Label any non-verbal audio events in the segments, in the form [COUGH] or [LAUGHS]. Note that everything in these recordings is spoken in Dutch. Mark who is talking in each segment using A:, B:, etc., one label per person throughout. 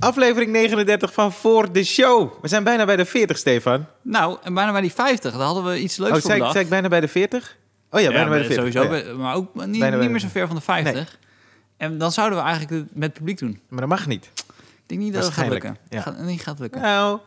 A: Aflevering 39 van Voor de Show. We zijn bijna bij de 40, Stefan.
B: Nou, en bijna bij die 50, daar hadden we iets leuks
A: Oh,
B: voor
A: zei ik,
B: bedacht.
A: zei ik bijna bij de 40? Oh ja,
B: Ja,
A: bijna bij de
B: maar
A: 40.
B: sowieso,
A: Ja.
B: bij- maar ook niet,
A: bij de-
B: niet meer zo ver van de 50. En dan zouden we eigenlijk het met het publiek doen.
A: Maar dat mag niet.
B: Ik denk niet dat het gaat
A: Waarschijnlijk,
B: lukken.
A: ja.
B: Gaat, niet gaat lukken.
A: Nou,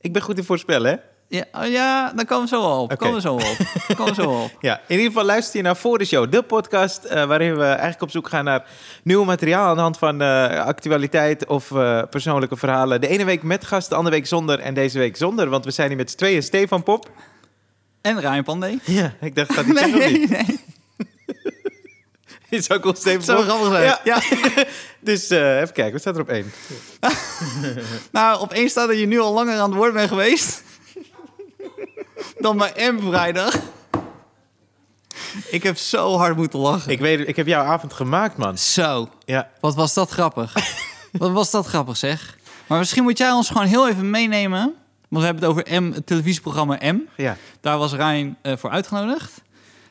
A: ik ben goed in voorspellen, hè?
B: Ja, oh ja dan komen we zo wel op.
A: Oké.
B: Komen we zo wel op. komen we zo
A: [LAUGHS]
B: wel op.
A: Ja, in ieder geval luister je naar Voor de Show, de podcast eh, waarin we eigenlijk op zoek gaan naar nieuw materiaal aan de hand van eh, actualiteit of eh, persoonlijke verhalen. De ene week met gast, de andere week zonder en deze week zonder, want we zijn hier met z'n tweeën. Stefan Pop.
B: En Ryan Pandey.
A: Ja, ik dacht dat ik nee, niet.
B: nee.
A: Dit is ook wel Stefan
B: Zo
A: Pop.
B: grappig zijn.
A: Ja.
B: Ja.
A: [LAUGHS] Dus eh, even kijken, wat staat er op één?
B: Nou, opeens staat dat je nu al langer aan het woord bent geweest. [LAUGHS] dan bij M vrijdag. Ik heb zo hard moeten lachen.
A: Ik weet, ik heb jouw avond gemaakt, man.
B: Zo.
A: Ja,
B: Wat was dat
A: [LAUGHS]
B: grappig. Wat was dat grappig, zeg. Maar misschien moet jij ons gewoon heel even meenemen. Want we hebben het over M, het televisieprogramma M.
A: ja.
B: Daar was Rijn eh, voor uitgenodigd.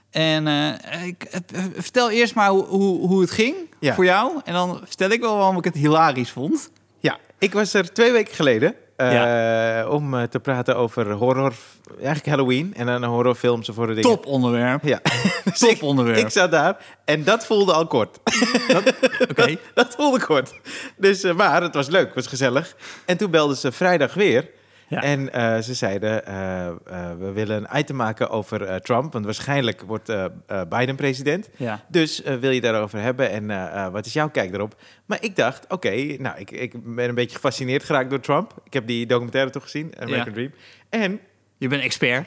B: En eh, ik, eh, vertel eerst maar hoe, hoe, hoe het ging
A: Ja.
B: voor jou. En dan vertel ik wel waarom ik het hilarisch vond.
A: Ja, ik was er twee weken geleden eh, om eh, te praten over horror, eigenlijk Halloween en dan horrorfilms en voor de dingen.
B: Top
A: [LAUGHS]
B: onderwerp.
A: Ja. Dus
B: Top
A: ik-
B: onderwerp.
A: [LAUGHS] Ik zat daar en dat voelde al kort. [LAUGHS]
B: Oké.
A: dat voelde kort. Dus, eh, maar het was leuk, het was gezellig. En toen belden ze vrijdag weer.
B: Ja.
A: En eh, ze zeiden, eh, eh, we willen een item maken over eh, Trump. Want waarschijnlijk wordt eh, eh, Biden president.
B: Ja.
A: Dus eh, wil je daarover hebben en eh, eh, wat is jouw kijk daarop? Maar ik dacht, oké, nou, ik, ik ben een beetje gefascineerd geraakt door Trump. Ik heb die documentaire toch gezien, American
B: Ja.
A: Dream. En [LAUGHS]
B: Je bent expert.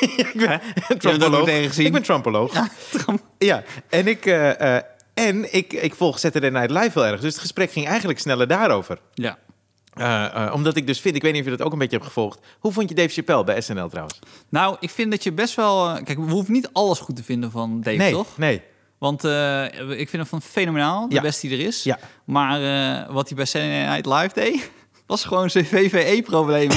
A: ik [LAUGHS] ben Trumpoloog.
B: documentaire gezien?
A: Ik ben Trumpoloog.
B: [LAUGHS]
A: Ja, en ik... eh, eh, en ik, ik volg Saturday Night Live heel erg. Dus het gesprek ging eigenlijk sneller daarover.
B: Ja.
A: Eh, eh, omdat ik dus vind, ik weet niet of je dat ook een beetje hebt gevolgd. Hoe vond je Dave Chappelle bij SNL trouwens?
B: Nou, ik vind dat je best wel... eh, Kijk, we hoeven niet alles goed te vinden van Dave,
A: nee,
B: toch?
A: nee.
B: Want eh, ik vind hem van fenomenaal, de
A: Ja.
B: beste die er is.
A: Ja.
B: Maar eh, wat hij bij Saturday Night Live deed, [LAUGHS] was gewoon CVVE-problemen.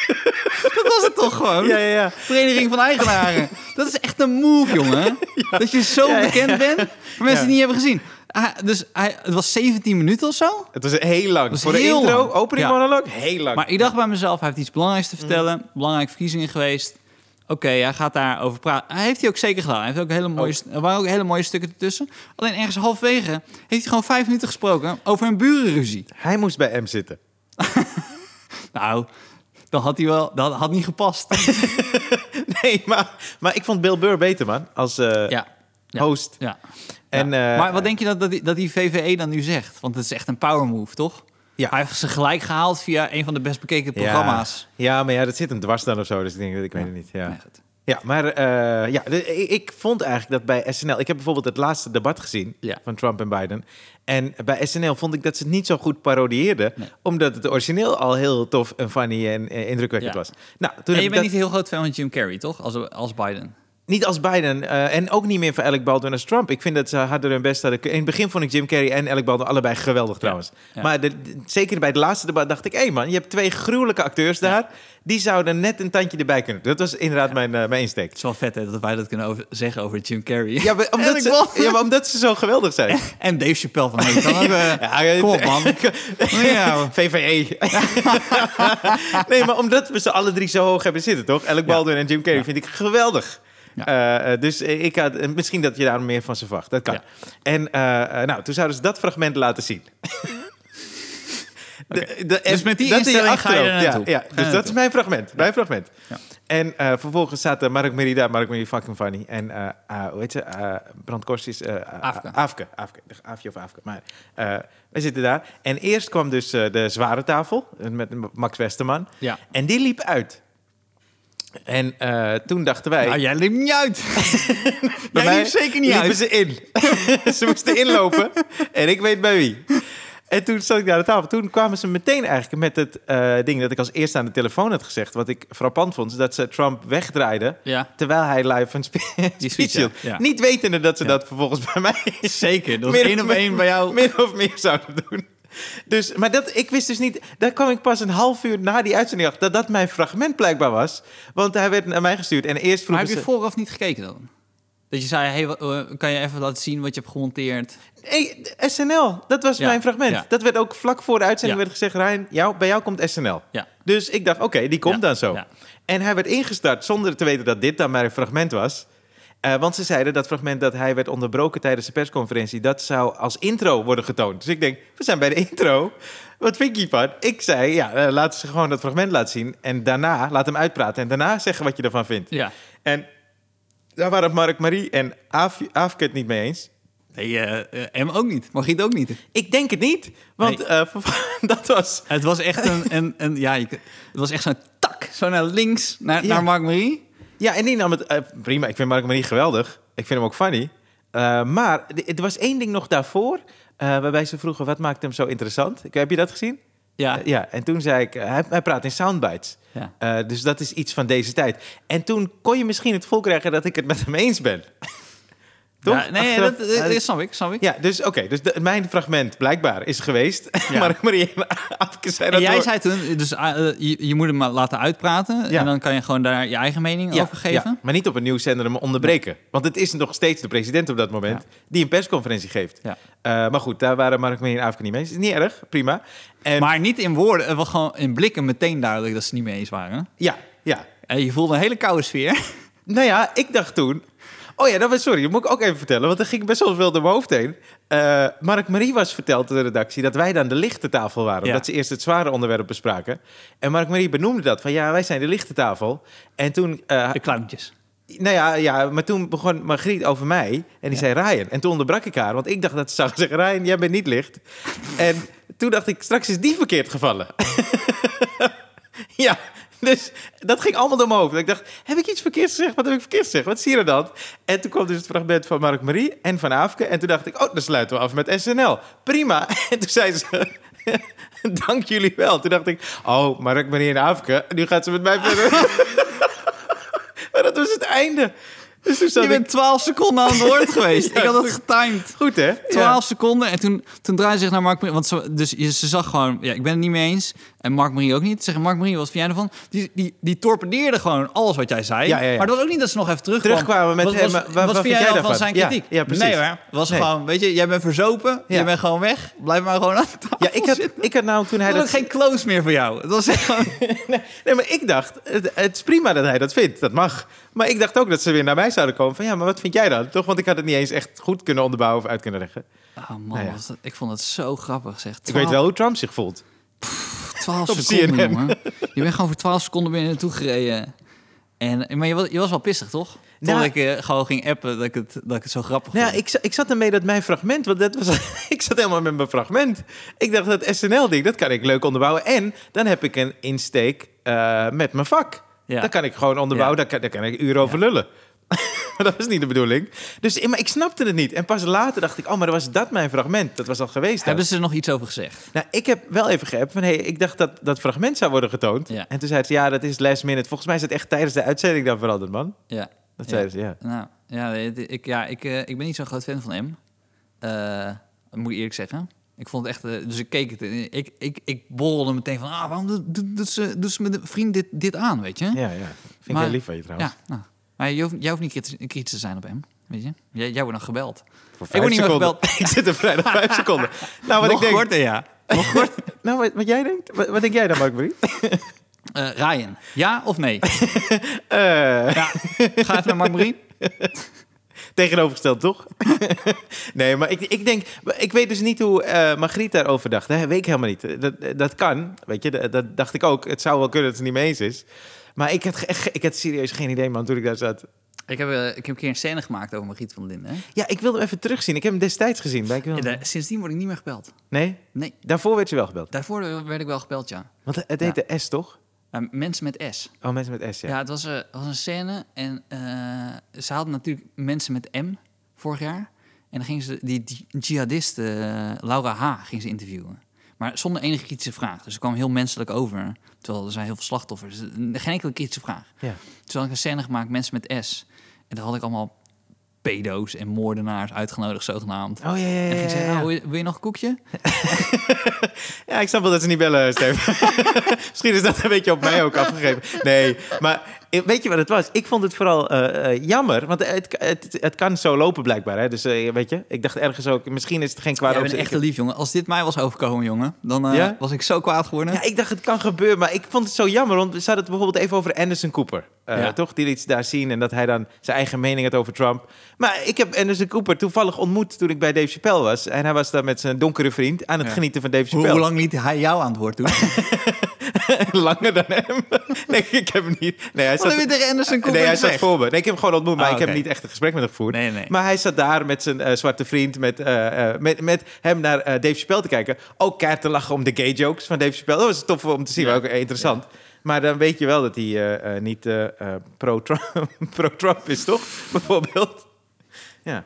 B: [LAUGHS] dat was het toch gewoon?
A: Ja, ja, ja.
B: Vereniging van Eigenaren. Dat is echt een move, jongen. Dat je zo
A: Ja, ja.
B: bekend bent voor mensen
A: Ja.
B: die niet hebben gezien. Ah, dus hij, het was 17 minuten of zo.
A: Het was heel lang.
B: was
A: Voor de
B: heel
A: intro,
B: lang.
A: opening
B: Ja.
A: monoloog, heel lang.
B: Maar ik dacht bij mezelf, hij heeft iets belangrijks
A: Mhm.
B: te vertellen. Belangrijke verkiezingen geweest. Oké, hij gaat daarover praten. Hij heeft hij ook zeker gedaan. Hij heeft ook hele mooie,
A: Oh.
B: st- er waren ook hele mooie stukken ertussen. Alleen ergens halverwege heeft hij gewoon vijf minuten gesproken over een burenruzie.
A: Hij moest bij M zitten.
B: Nou, dan had hij wel, dat had niet [LAUGHS] gepast.
A: [LAUGHS] Nee, maar, maar ik vond Bill Burr beter, man. Als eh,
B: ja. ja.
A: host.
B: ja.
A: En, eh,
B: maar wat denk je dat, dat, die, dat die VVE dan nu zegt? Want het is echt een power move, toch?
A: Ja.
B: Hij heeft ze gelijk gehaald via een van de best bekeken programma's.
A: Ja, maar ja, dat zit hem dwars dan of zo. Dus ik denk, dat ik weet het niet. Ja,
B: Nee, goed.
A: ja maar eh, ja, de- ik, ik vond eigenlijk dat bij SNL... Ik heb bijvoorbeeld het laatste debat gezien
B: Ja.
A: van Trump en Biden. En bij SNL vond ik dat ze het niet zo goed parodieerden.
B: Nee.
A: Omdat het origineel al heel tof en funny en eh, indrukwekkend
B: Ja.
A: was. Nou, toen
B: En
A: heb
B: je
A: ik
B: bent
A: dat-
B: niet een heel groot fan van Jim Carrey, toch? Als, als Biden.
A: Niet als Biden eh, en ook niet meer voor Alec Baldwin als Trump. Ik vind dat ze harder hun best hadden. kun- In het begin vond ik Jim Carrey en Alec Baldwin allebei geweldig trouwens.
B: ja.
A: Maar de- de- zeker bij het laatste debat dacht ik... hé man, je hebt twee gruwelijke acteurs daar. Die zouden net een tandje erbij kunnen. Dat was inderdaad mijn, eh, mijn insteek.
B: Het is wel vet hè, dat wij dat kunnen over- zeggen over Jim Carrey.
A: Ja maar, omdat
B: Alec
A: ze,
B: Baldwin.
A: ja, maar omdat ze zo geweldig zijn.
B: [LAUGHS] En Dave Chappelle van hey, kan ook, eh,
A: Ja,
B: Kom op, man. [LAUGHS] ja. E.
A: VVE. [LAUGHS] nee, maar omdat we ze alle drie zo hoog hebben zitten, toch? Alec Baldwin en Jim Carrey vind ik geweldig.
B: Ja.
A: Eh, eh, dus ik had, eh, misschien dat je daar meer van ze verwacht. Dat kan.
B: Ja.
A: En eh, eh, nou, toen zouden ze dat fragment laten zien. De- de-
B: Dus met die
A: dat in je
B: instelling ga je er
A: achterhoofd, ja,
B: naartoe.
A: ja.
B: Ga je
A: Dus dat is
B: naartoe.
A: mijn fragment. Mijn fragment.
B: Ja.
A: En eh, vervolgens zaten Mark Merida, Mark Merida fucking funny. En eh ah, hoe heet ze? Eh Brand Korsjes. eh, eh,
B: Afke.
A: Afke. Afke. Afje of Afke. Maar eh we zitten daar. En eerst kwam dus eh, de zware tafel eh, met Max Westerman.
B: Ja.
A: En die liep uit. En eh, toen dachten wij...
B: Nou, jij liep niet [LAUGHS] uit.
A: bij
B: jij
A: mij
B: liep zeker niet
A: liepen
B: uit.
A: ze in. [LAUGHS] ze moesten inlopen. En ik weet bij wie. En toen zat ik daar aan de tafel. Toen kwamen ze meteen eigenlijk met het eh, ding dat ik als eerste aan de telefoon had gezegd. Wat ik frappant vond, is dat ze Trump wegdraaiden.
B: Ja,
A: Terwijl hij live een spe- speech
B: speech, ja.
A: hield.
B: Ja.
A: Niet wetende dat ze
B: Ja.
A: dat vervolgens bij mij
B: [LAUGHS] zeker. Dat was
A: Meer of
B: één op
A: min-
B: één bij jou.
A: min of meer zouden doen. Dus, maar dat, ik wist dus niet... Daar kwam ik pas een half uur na die uitzending achter... dat dat mijn fragment blijkbaar was. Want hij werd naar mij gestuurd. En eerst vroeg
B: Maar heb je
A: ze...
B: vooraf niet gekeken dan? Dat je zei, hey, wa- eh, kan je even laten zien wat je hebt gemonteerd?
A: Hey, SNL, dat was
B: Ja,
A: mijn fragment.
B: ja.
A: Dat werd ook vlak voor de uitzending
B: Ja.
A: werd gezegd, Rijn, jou, bij jou komt SNL.
B: Ja.
A: Dus ik dacht, oké, die komt
B: Ja,
A: dan zo.
B: ja.
A: En hij werd ingestart zonder te weten dat dit dan mijn fragment was. Eh, want ze zeiden dat fragment dat hij werd onderbroken tijdens de persconferentie... dat zou als intro worden getoond. Dus ik denk, we zijn bij de intro. Wat vind je hiervan? Ik zei, ja, eh, laten ze gewoon dat fragment laten zien... en daarna, laat hem uitpraten en daarna zeggen wat je ervan vindt.
B: Ja.
A: En daar waren Mark Marie en Aaf- Aafke het niet mee eens...
B: Nee, eh, eh, M ook niet. Margriet ook niet.
A: Ik denk het niet, want
B: Nee.
A: eh, [LAUGHS] verv- dat was...
B: Het was echt een, een, een ja, je- het was echt zo'n tak, zo naar links, naar,
A: Ja.
B: naar Mark Marie.
A: Ja, en die nam het... eh, prima, ik vind Mark Marie geweldig. Ik vind hem ook funny. Eh, maar d- er was één ding nog daarvoor, eh, waarbij ze vroegen... wat maakt hem zo interessant? Ik- Heb je dat gezien?
B: Ja,
A: Eh, ja, en toen zei ik... eh, hij, hij praat in soundbites.
B: ja.
A: Eh, dus dat is iets van deze tijd. En toen kon je misschien het vol krijgen dat ik het met hem eens
B: [LAUGHS]
A: ben. Toch?
B: Ja, nee,
A: Achteraf- Eh,
B: dat, eh, dat, dat snap ik, snap ik.
A: Ja, dus oké. dus de- mijn fragment blijkbaar is geweest. [LAUGHS]
B: Ja.
A: Mark Marie en Afke zei
B: En
A: dat
B: jij
A: door.
B: zei toen, dus ah, eh, je, je moet hem maar laten uitpraten.
A: Ja.
B: En dan kan je gewoon daar je eigen mening over geven.
A: ja, maar niet op een nieuwszender hem onderbreken. Want het is nog steeds de president op dat moment die een persconferentie geeft.
B: Ja.
A: Eh, maar goed, daar waren Mark Meer en Afrika niet mee eens. Is niet erg, prima. En,
B: Maar niet in woorden, het was gewoon in blikken meteen duidelijk dat ze het niet mee eens waren.
A: ja, ja.
B: En je voelde een hele koude sfeer.
A: Nou ja, ik dacht toen... Oh ja, dat was, sorry, dat moet ik ook even vertellen, want er ging best wel veel door mijn hoofd heen. Eh, Mark Marie was verteld door de redactie dat wij dan de lichte tafel waren.
B: Ja.
A: Omdat ze eerst het zware onderwerp bespraken. En Mark Marie benoemde dat, van ja, wij zijn de lichte tafel. En toen eh,
B: De clowntjes.
A: Nou ja, ja, maar toen begon Margriet over mij en die zei
B: Ja.
A: Ryan. En toen onderbrak ik haar, want ik dacht dat ze zou [LAUGHS] zeggen... Ryan, jij bent niet licht. en toen dacht ik, straks is die verkeerd gevallen. [LAUGHS] ja, dus dat ging allemaal door mijn hoofd. Ik dacht, heb ik iets verkeerds gezegd? Wat heb ik verkeerd gezegd? Wat is hier dan? En toen kwam dus het fragment van Mark Marie en van Aafke. En toen dacht ik, oh, dan sluiten we af met SNL. Prima. [LAUGHS] en toen zei ze... [LAUGHS] Dank jullie wel. Toen dacht ik, oh, Mark, Marie en Aafke, nu gaat ze met mij [LAUGHS] verder. Maar dat was het einde. Dus toen zat
B: Je bent 12 seconden aan het
A: [LAUGHS]
B: woord geweest. Ik had dat getimed.
A: ik... Goed, hè?
B: 12 seconden en toen, toen draaide ze zich naar Mark Marie. Want ze, dus je- ze zag gewoon, ja, ik ben het niet mee eens. En Mark Marie ook niet. Ze Zeggen Mark Marie, wat vind jij ervan? Die, die, die torpedeerde gewoon alles wat jij zei.
A: Ja, ja, ja.
B: Maar het was ook niet dat ze nog even terugkwam.
A: Terugkwamen met,
B: wat,
A: hey,
B: was-
A: maar wa-
B: wat
A: wat
B: vind jij dan van zijn
A: Ja,
B: kritiek?
A: ja, precies.
B: Nee hoor, het was
A: Nee.
B: gewoon, weet je, jij bent verzopen.
A: Ja.
B: Jij bent gewoon weg. Blijf maar gewoon aan tafel
A: Ja, [LAUGHS] ik had,
B: zitten.
A: ik had nou toen hij
B: Er was ook
A: dat...
B: geen close meer voor jou. Het was
A: [LAUGHS]
B: echt gewoon...
A: Nee, maar ik dacht, het, het is prima dat hij dat vindt, dat mag. Maar ik dacht ook dat ze weer naar mij zouden komen van... ja, maar wat vind jij dan? Toch, want ik had het niet eens echt goed kunnen onderbouwen of uit kunnen leggen.
B: Ah man,
A: Nou ja.
B: was dat- ik vond het zo grappig zeg.
A: Ik weet wel hoe Trump zich voelt.
B: 12
A: Op
B: seconden,
A: CNN.
B: jongen. Je bent gewoon voor 12 seconden binnen naartoe gereden. En, maar je was, je was wel pissig, toch?
A: Nou-
B: Totdat ik eh, gewoon ging appen dat ik het, dat ik het zo grappig
A: Nou, ja,
B: vond.
A: ik, za- ik zat ermee dat mijn fragment, want dat was, [LAUGHS] ik zat helemaal met mijn fragment. Ik dacht dat SNL-ding, dat kan ik leuk onderbouwen. En dan heb ik een insteek eh, met mijn vak.
B: Ja.
A: Dat kan ik gewoon onderbouwen, daar, kan, daar kan ik uren over lullen. [LAUGHS] Maar dat was niet de bedoeling. Dus eh, maar ik snapte het niet. En pas later dacht ik, oh, maar was dat mijn fragment? Dat was al geweest. dan.
B: Hebben ze er nog iets over gezegd?
A: Nou, ik heb wel even geappt van, hey, ik dacht dat dat fragment zou worden getoond.
B: Ja.
A: En toen zei ze, ja, dat is last minute. Volgens mij is het echt tijdens de uitzending dan veranderd, man.
B: Ja.
A: Dat
B: Ja.
A: zeiden ze, ja.
B: Nou, ja, weet je, ik, ja ik, eh, ik ben niet zo'n groot fan van hem. Eh, dat moet ik eerlijk zeggen. Ik vond het echt... eh, dus ik keek het... en Ik, ik, ik borrelde meteen van... Ah, waarom doet, doet, doet ze, doet ze mijn vriend dit, dit aan, weet je?
A: Ja, ja. Vind ik
B: Maar-
A: heel lief van je trouwens.
B: Ja, nou. Maar je hoeft, jij hoeft niet kritisch, kritisch te zijn op hem, weet je? Jij, jij wordt nog gebeld.
A: Voor
B: Ik word
A: vijf
B: niet meer
A: seconden. [LAUGHS] ik zit er vrijdag
B: [LAUGHS]
A: vijf seconden. Nou, wat ik denk...
B: korter, ja. Nog kort.
A: Nou, wat, wat jij denkt? Wat, wat denk jij dan, Mark
B: [LAUGHS]
A: Marie?
B: Eh, Ryan, ja of nee?
A: [LAUGHS] Eh,
B: Ja. Ga even naar Mark Marie.
A: tegenovergesteld, toch? [LAUGHS] nee, maar ik, ik denk... Ik weet dus niet hoe eh Margriet daarover dacht. Dat weet ik helemaal niet. Dat, dat kan, weet je. Dat, dat dacht ik ook. Het zou wel kunnen dat ze het niet mee eens is. Maar ik had, ge- echt- ik had serieus geen idee, man, toen ik daar zat.
B: Ik heb, eh, ik heb een keer een scène gemaakt over Margriet van Linden. hè.
A: Ja, ik wilde hem even terugzien. Ik heb hem destijds gezien. Maar ik wil...
B: En daar- sindsdien word ik niet meer gebeld.
A: Nee?
B: Nee,
A: Daarvoor werd je wel gebeld.
B: daarvoor werd ik wel gebeld, ja.
A: Want het heette S, toch?
B: Maar mensen met S.
A: Oh, mensen met S, ja.
B: Ja, het was, eh, was een scène en eh, ze hadden natuurlijk mensen met M vorig jaar. En dan gingen ze die, die jihadiste eh, Laura H. ging ze interviewen. Maar zonder enige kritische vraag. Dus ze kwam heel menselijk over. Terwijl er zijn heel veel slachtoffers. Dus Geen enkele kritische vraag.
A: Ja.
B: Toen had ik een scène gemaakt, mensen met S. En daar had ik allemaal pedo's en moordenaars uitgenodigd, zogenaamd.
A: Oh, ja, ja,
B: En
A: ja.
B: ging ze
A: ja,
B: zeggen,
A: ja.
B: "Nou, wil, je, wil je nog een koekje?
A: Ja, [LAUGHS]
B: [LAUGHS]
A: ik snap wel dat ze niet bellen, Steven. Misschien is dat een beetje op mij ook afgegeven. Nee, maar Eh, Weet je wat het was? Ik vond het vooral eh, eh, jammer, want het, het, het kan zo lopen blijkbaar. Hè? Dus eh, weet je, ik dacht ergens ook, misschien is het geen kwaad
B: Jij bent
A: opzet.
B: echt een lief, jongen. Als dit mij was overkomen, jongen, dan eh,
A: Ja?
B: was ik zo kwaad geworden.
A: Ja, ik dacht het kan gebeuren, maar ik vond het zo jammer. Want we hadden het bijvoorbeeld even over Anderson Cooper. eh,
B: Ja.
A: Toch? Die liet ze daar zien en dat hij dan zijn eigen mening had over Trump. Maar ik heb Anderson Cooper toevallig ontmoet toen ik bij Dave Chappelle was. En hij was daar met zijn donkere vriend aan het
B: Ja.
A: genieten van Dave
B: Hoe,
A: Chappelle.
B: hoe lang liet [LAUGHS] hij jou aan het woord doen? Wat
A: [LAUGHS] Langer dan hem. [LAUGHS] nee, ik heb hem niet. Nee, hij
B: heb je
A: zat,
B: tegen Anderson Cooper
A: nee, hij zat
B: gezegd?
A: voor me. Nee, ik heb hem gewoon ontmoet, maar
B: Ah,
A: ik heb
B: oké.
A: niet echt een gesprek met hem gevoerd.
B: Nee, nee.
A: Maar hij zat daar met zijn eh, zwarte vriend, met, eh, eh, met, met hem naar eh, Dave Chappelle te kijken. Ook keihard te lachen om de gay jokes van Dave Chappelle. Dat was tof om te zien,
B: Ja.
A: maar ook eh, interessant. Maar dan weet je wel dat hij eh, eh, niet eh, eh, pro-Trump [LAUGHS] pro-Trump is, toch? [LAUGHS] Bijvoorbeeld. Ja.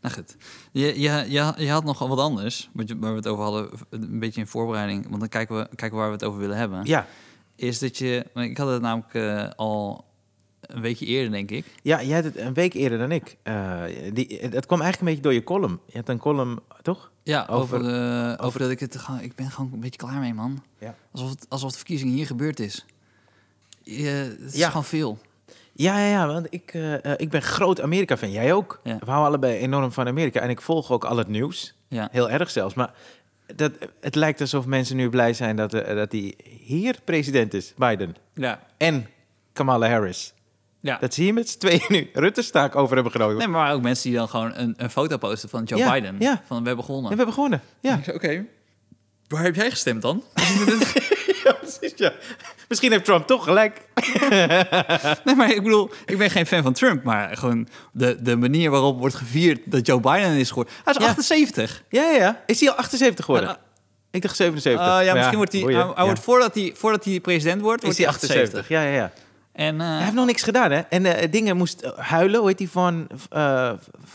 B: Nou goed. Je, je, je, je had nogal wat anders, wat je- waar we het over hadden, een beetje in voorbereiding. Want dan kijken we, kijken we waar we het over willen hebben.
A: Ja.
B: Is dat je... want Ik had het namelijk eh, al een weekje eerder, denk ik.
A: ja, jij had het een week eerder dan ik. Eh, die, het kwam eigenlijk een beetje door je column. Je had een column, toch?
B: Ja, over,
A: Over-
B: eh, over, dat ik het gewoon... Ik ben gewoon een beetje klaar mee, man.
A: Ja.
B: Alsof, het, alsof de verkiezing hier gebeurd is. Je, het is
A: Ja.
B: gewoon veel.
A: Ja, ja, ja, want ik, eh, eh, ik ben groot Amerika-fan. Jij ook.
B: Ja.
A: We houden allebei enorm van Amerika. En ik volg ook al het nieuws.
B: Ja.
A: Heel erg zelfs. Maar dat, het lijkt alsof mensen nu blij zijn dat, eh, dat die hier president is, Biden.
B: Ja.
A: En Kamala Harris.
B: ja.
A: Dat zie je met z'n tweeën nu. Rutte staak over hebben genomen.
B: Nee, maar ook mensen die dan gewoon een, een foto posten van Joe
A: Ja,
B: Biden.
A: ja.
B: Van we hebben gewonnen.
A: En we hebben gewonnen. Ja,
B: Ik zei, Oké, waar heb jij gestemd dan?
A: [LAUGHS] ja precies. Ja. Misschien heeft Trump toch gelijk.
B: [LAUGHS] nee, maar ik bedoel, ik ben geen fan van Trump, maar gewoon de, de manier waarop wordt gevierd dat Joe Biden is geworden. Hij is
A: Ja.
B: 78.
A: Ja, ja, ja. Is hij al 78 geworden?
B: Ah, ah.
A: ik dacht
B: Eh,
A: 77.
B: ja, misschien wordt hij,
A: boeien.
B: hij, hij
A: Ja.
B: wordt voordat hij, voordat hij president wordt,
A: Is
B: wordt
A: hij
B: hij
A: 78?
B: 78.
A: Ja, ja, ja.
B: En eh,
A: Hij heeft nog niks gedaan, hè? En eh, dingen moest eh, huilen. Hoe heet die van... eh,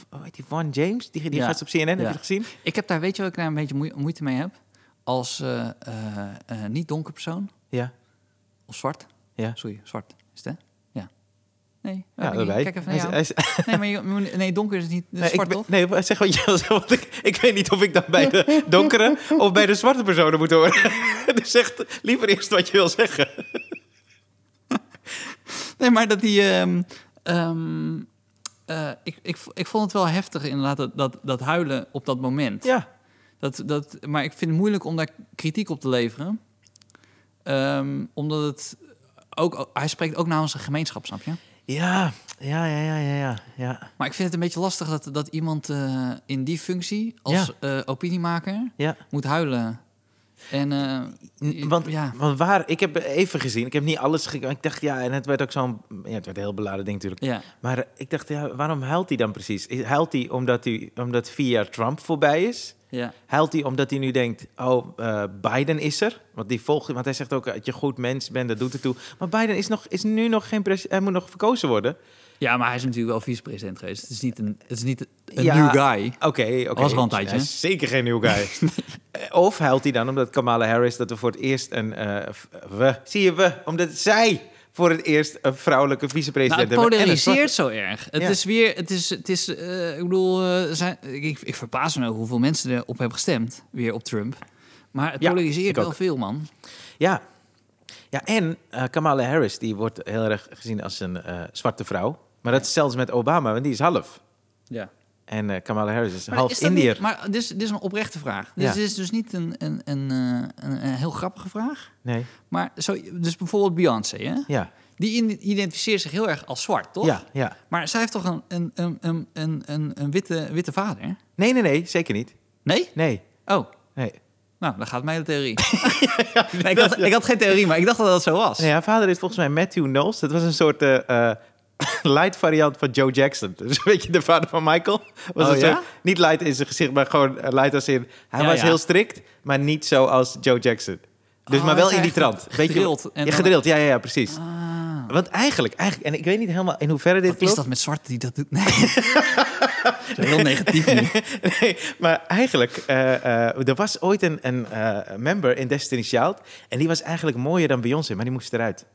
A: hoe heet die van James? Die, die
B: Ja.
A: gast op CNN, heb je
B: Ja.
A: het gezien?
B: ik heb daar, weet je wat ik daar een beetje moe- moeite mee heb? Als eh, eh, eh, niet donker persoon,
A: Ja.
B: of zwart.
A: Ja.
B: Sorry, zwart is het hè? Ja. Nee,
A: Ja,
B: weet ik niet.
A: wij.
B: kijk even
A: Hij
B: naar
A: is-
B: jou.
A: hij is-
B: Nee, maar je- je- nee, donker is het niet.
A: Nee, [LAUGHS] ik
B: zwart
A: ben-
B: toch?
A: nee, maar zeg wat je wil zeggen, want ik, ik weet niet of ik dat bij
B: [LAUGHS]
A: de donkere of bij de zwarte personen moet horen. [LAUGHS] Dus zeg liever eerst wat je wil zeggen.
B: Nee, maar dat die. ehm, ehm, eh, ik, ik, vo- ik vond het wel heftig, inderdaad, dat, dat, dat huilen op dat moment.
A: Ja.
B: Dat, dat, maar ik vind het moeilijk om daar kritiek op te leveren. Ehm, omdat het ook. Hij spreekt ook namens een gemeenschap, snap je?
A: Ja, ja, ja, ja, ja, ja. ja.
B: Maar ik vind het een beetje lastig dat, dat iemand eh, in die functie als eh, opiniemaker
A: ja.
B: moet huilen. En. eh,
A: Want,
B: ja.
A: want waar, ik heb even gezien, ik heb niet alles gekeken. Ik dacht, ja, en het werd ook zo'n, ja, het werd een heel beladen ding natuurlijk.
B: Ja.
A: Maar eh, ik dacht, ja, waarom huilt hij dan precies? Is- Huilt hij omdat, hij omdat vier jaar Trump voorbij is?
B: Ja.
A: Huilt hij omdat hij nu denkt, oh, eh, Biden is er? Want, die volgt, want hij zegt ook eh, dat je goed mens bent, dat doet er toe. Maar Biden is, nog, is nu nog geen president, hij moet nog verkozen worden.
B: ja, maar hij is natuurlijk wel vicepresident geweest. Het is niet een, het is niet een
A: Ja.
B: new guy.
A: Oké, oké.
B: was wel een tijdje,
A: Hij is Zeker geen nieuw guy.
B: [LAUGHS]
A: Eh, Of huilt hij dan omdat Kamala Harris, dat we voor het eerst een, eh, v- we, zie je we, omdat zij voor het eerst een vrouwelijke
B: Nou,
A: vicepresident
B: het
A: hebben. En een
B: polariseert zo erg. Het
A: Ja.
B: is weer, het is, het is, eh, ik bedoel, eh, zijn, ik, ik verbaas me nou hoeveel mensen erop hebben gestemd, weer op Trump. Maar het
A: Ja, ik
B: polariseert wel
A: ook.
B: veel, man.
A: Ja. Ja, en eh, Kamala Harris, die wordt heel erg gezien als een eh, zwarte vrouw. Maar dat is zelfs met Obama, want die is half.
B: Ja.
A: En eh, Kamala Harris is half Indiër.
B: maar dit is, dit is een oprechte vraag. Dus
A: Ja.
B: het is dus niet een, een, een, eh, een, een heel grappige vraag.
A: Nee,
B: Maar zo, dus bijvoorbeeld Beyoncé, hè?
A: ja.
B: die in- identificeert zich heel erg als zwart, toch?
A: Ja, ja.
B: Maar zij heeft toch een, een, een, een, een, een, een witte, witte vader?
A: Nee, nee, nee, zeker niet.
B: Nee?
A: Nee,
B: Oh,
A: nee.
B: nou, dan gaat mijn hele theorie.
A: [LAUGHS]
B: Nee, ik, had, ik had geen theorie, maar ik dacht dat dat zo was.
A: nee haar vader is volgens mij Matthew Knowles. Dat was een soort eh, [LAUGHS] eh, light variant van Joe Jackson. [LAUGHS] Dus weet je, de vader van Michael. Was
B: Oh,
A: een
B: ja?
A: soort, niet light in zijn gezicht, maar gewoon eh, light als in... Hij
B: Ja,
A: was
B: ja.
A: heel strikt, maar niet zoals Joe Jackson. Dus
B: Oh,
A: maar wel
B: hij is
A: in die
B: echt
A: trant. Weet je-
B: gedrild en
A: ja,
B: dan-
A: gedrild. Ja, ja, ja, precies.
B: Ah,
A: Want eigenlijk, eigenlijk, en ik weet niet helemaal in hoeverre dit
B: wat is
A: klopt.
B: dat met zwart die dat doet? Nee. Zo Heel negatief nu.
A: [LAUGHS] nee, maar eigenlijk, eh, eh, er was ooit een, een eh, member in Destiny Child. En die was eigenlijk mooier dan Beyoncé, maar die moest eruit.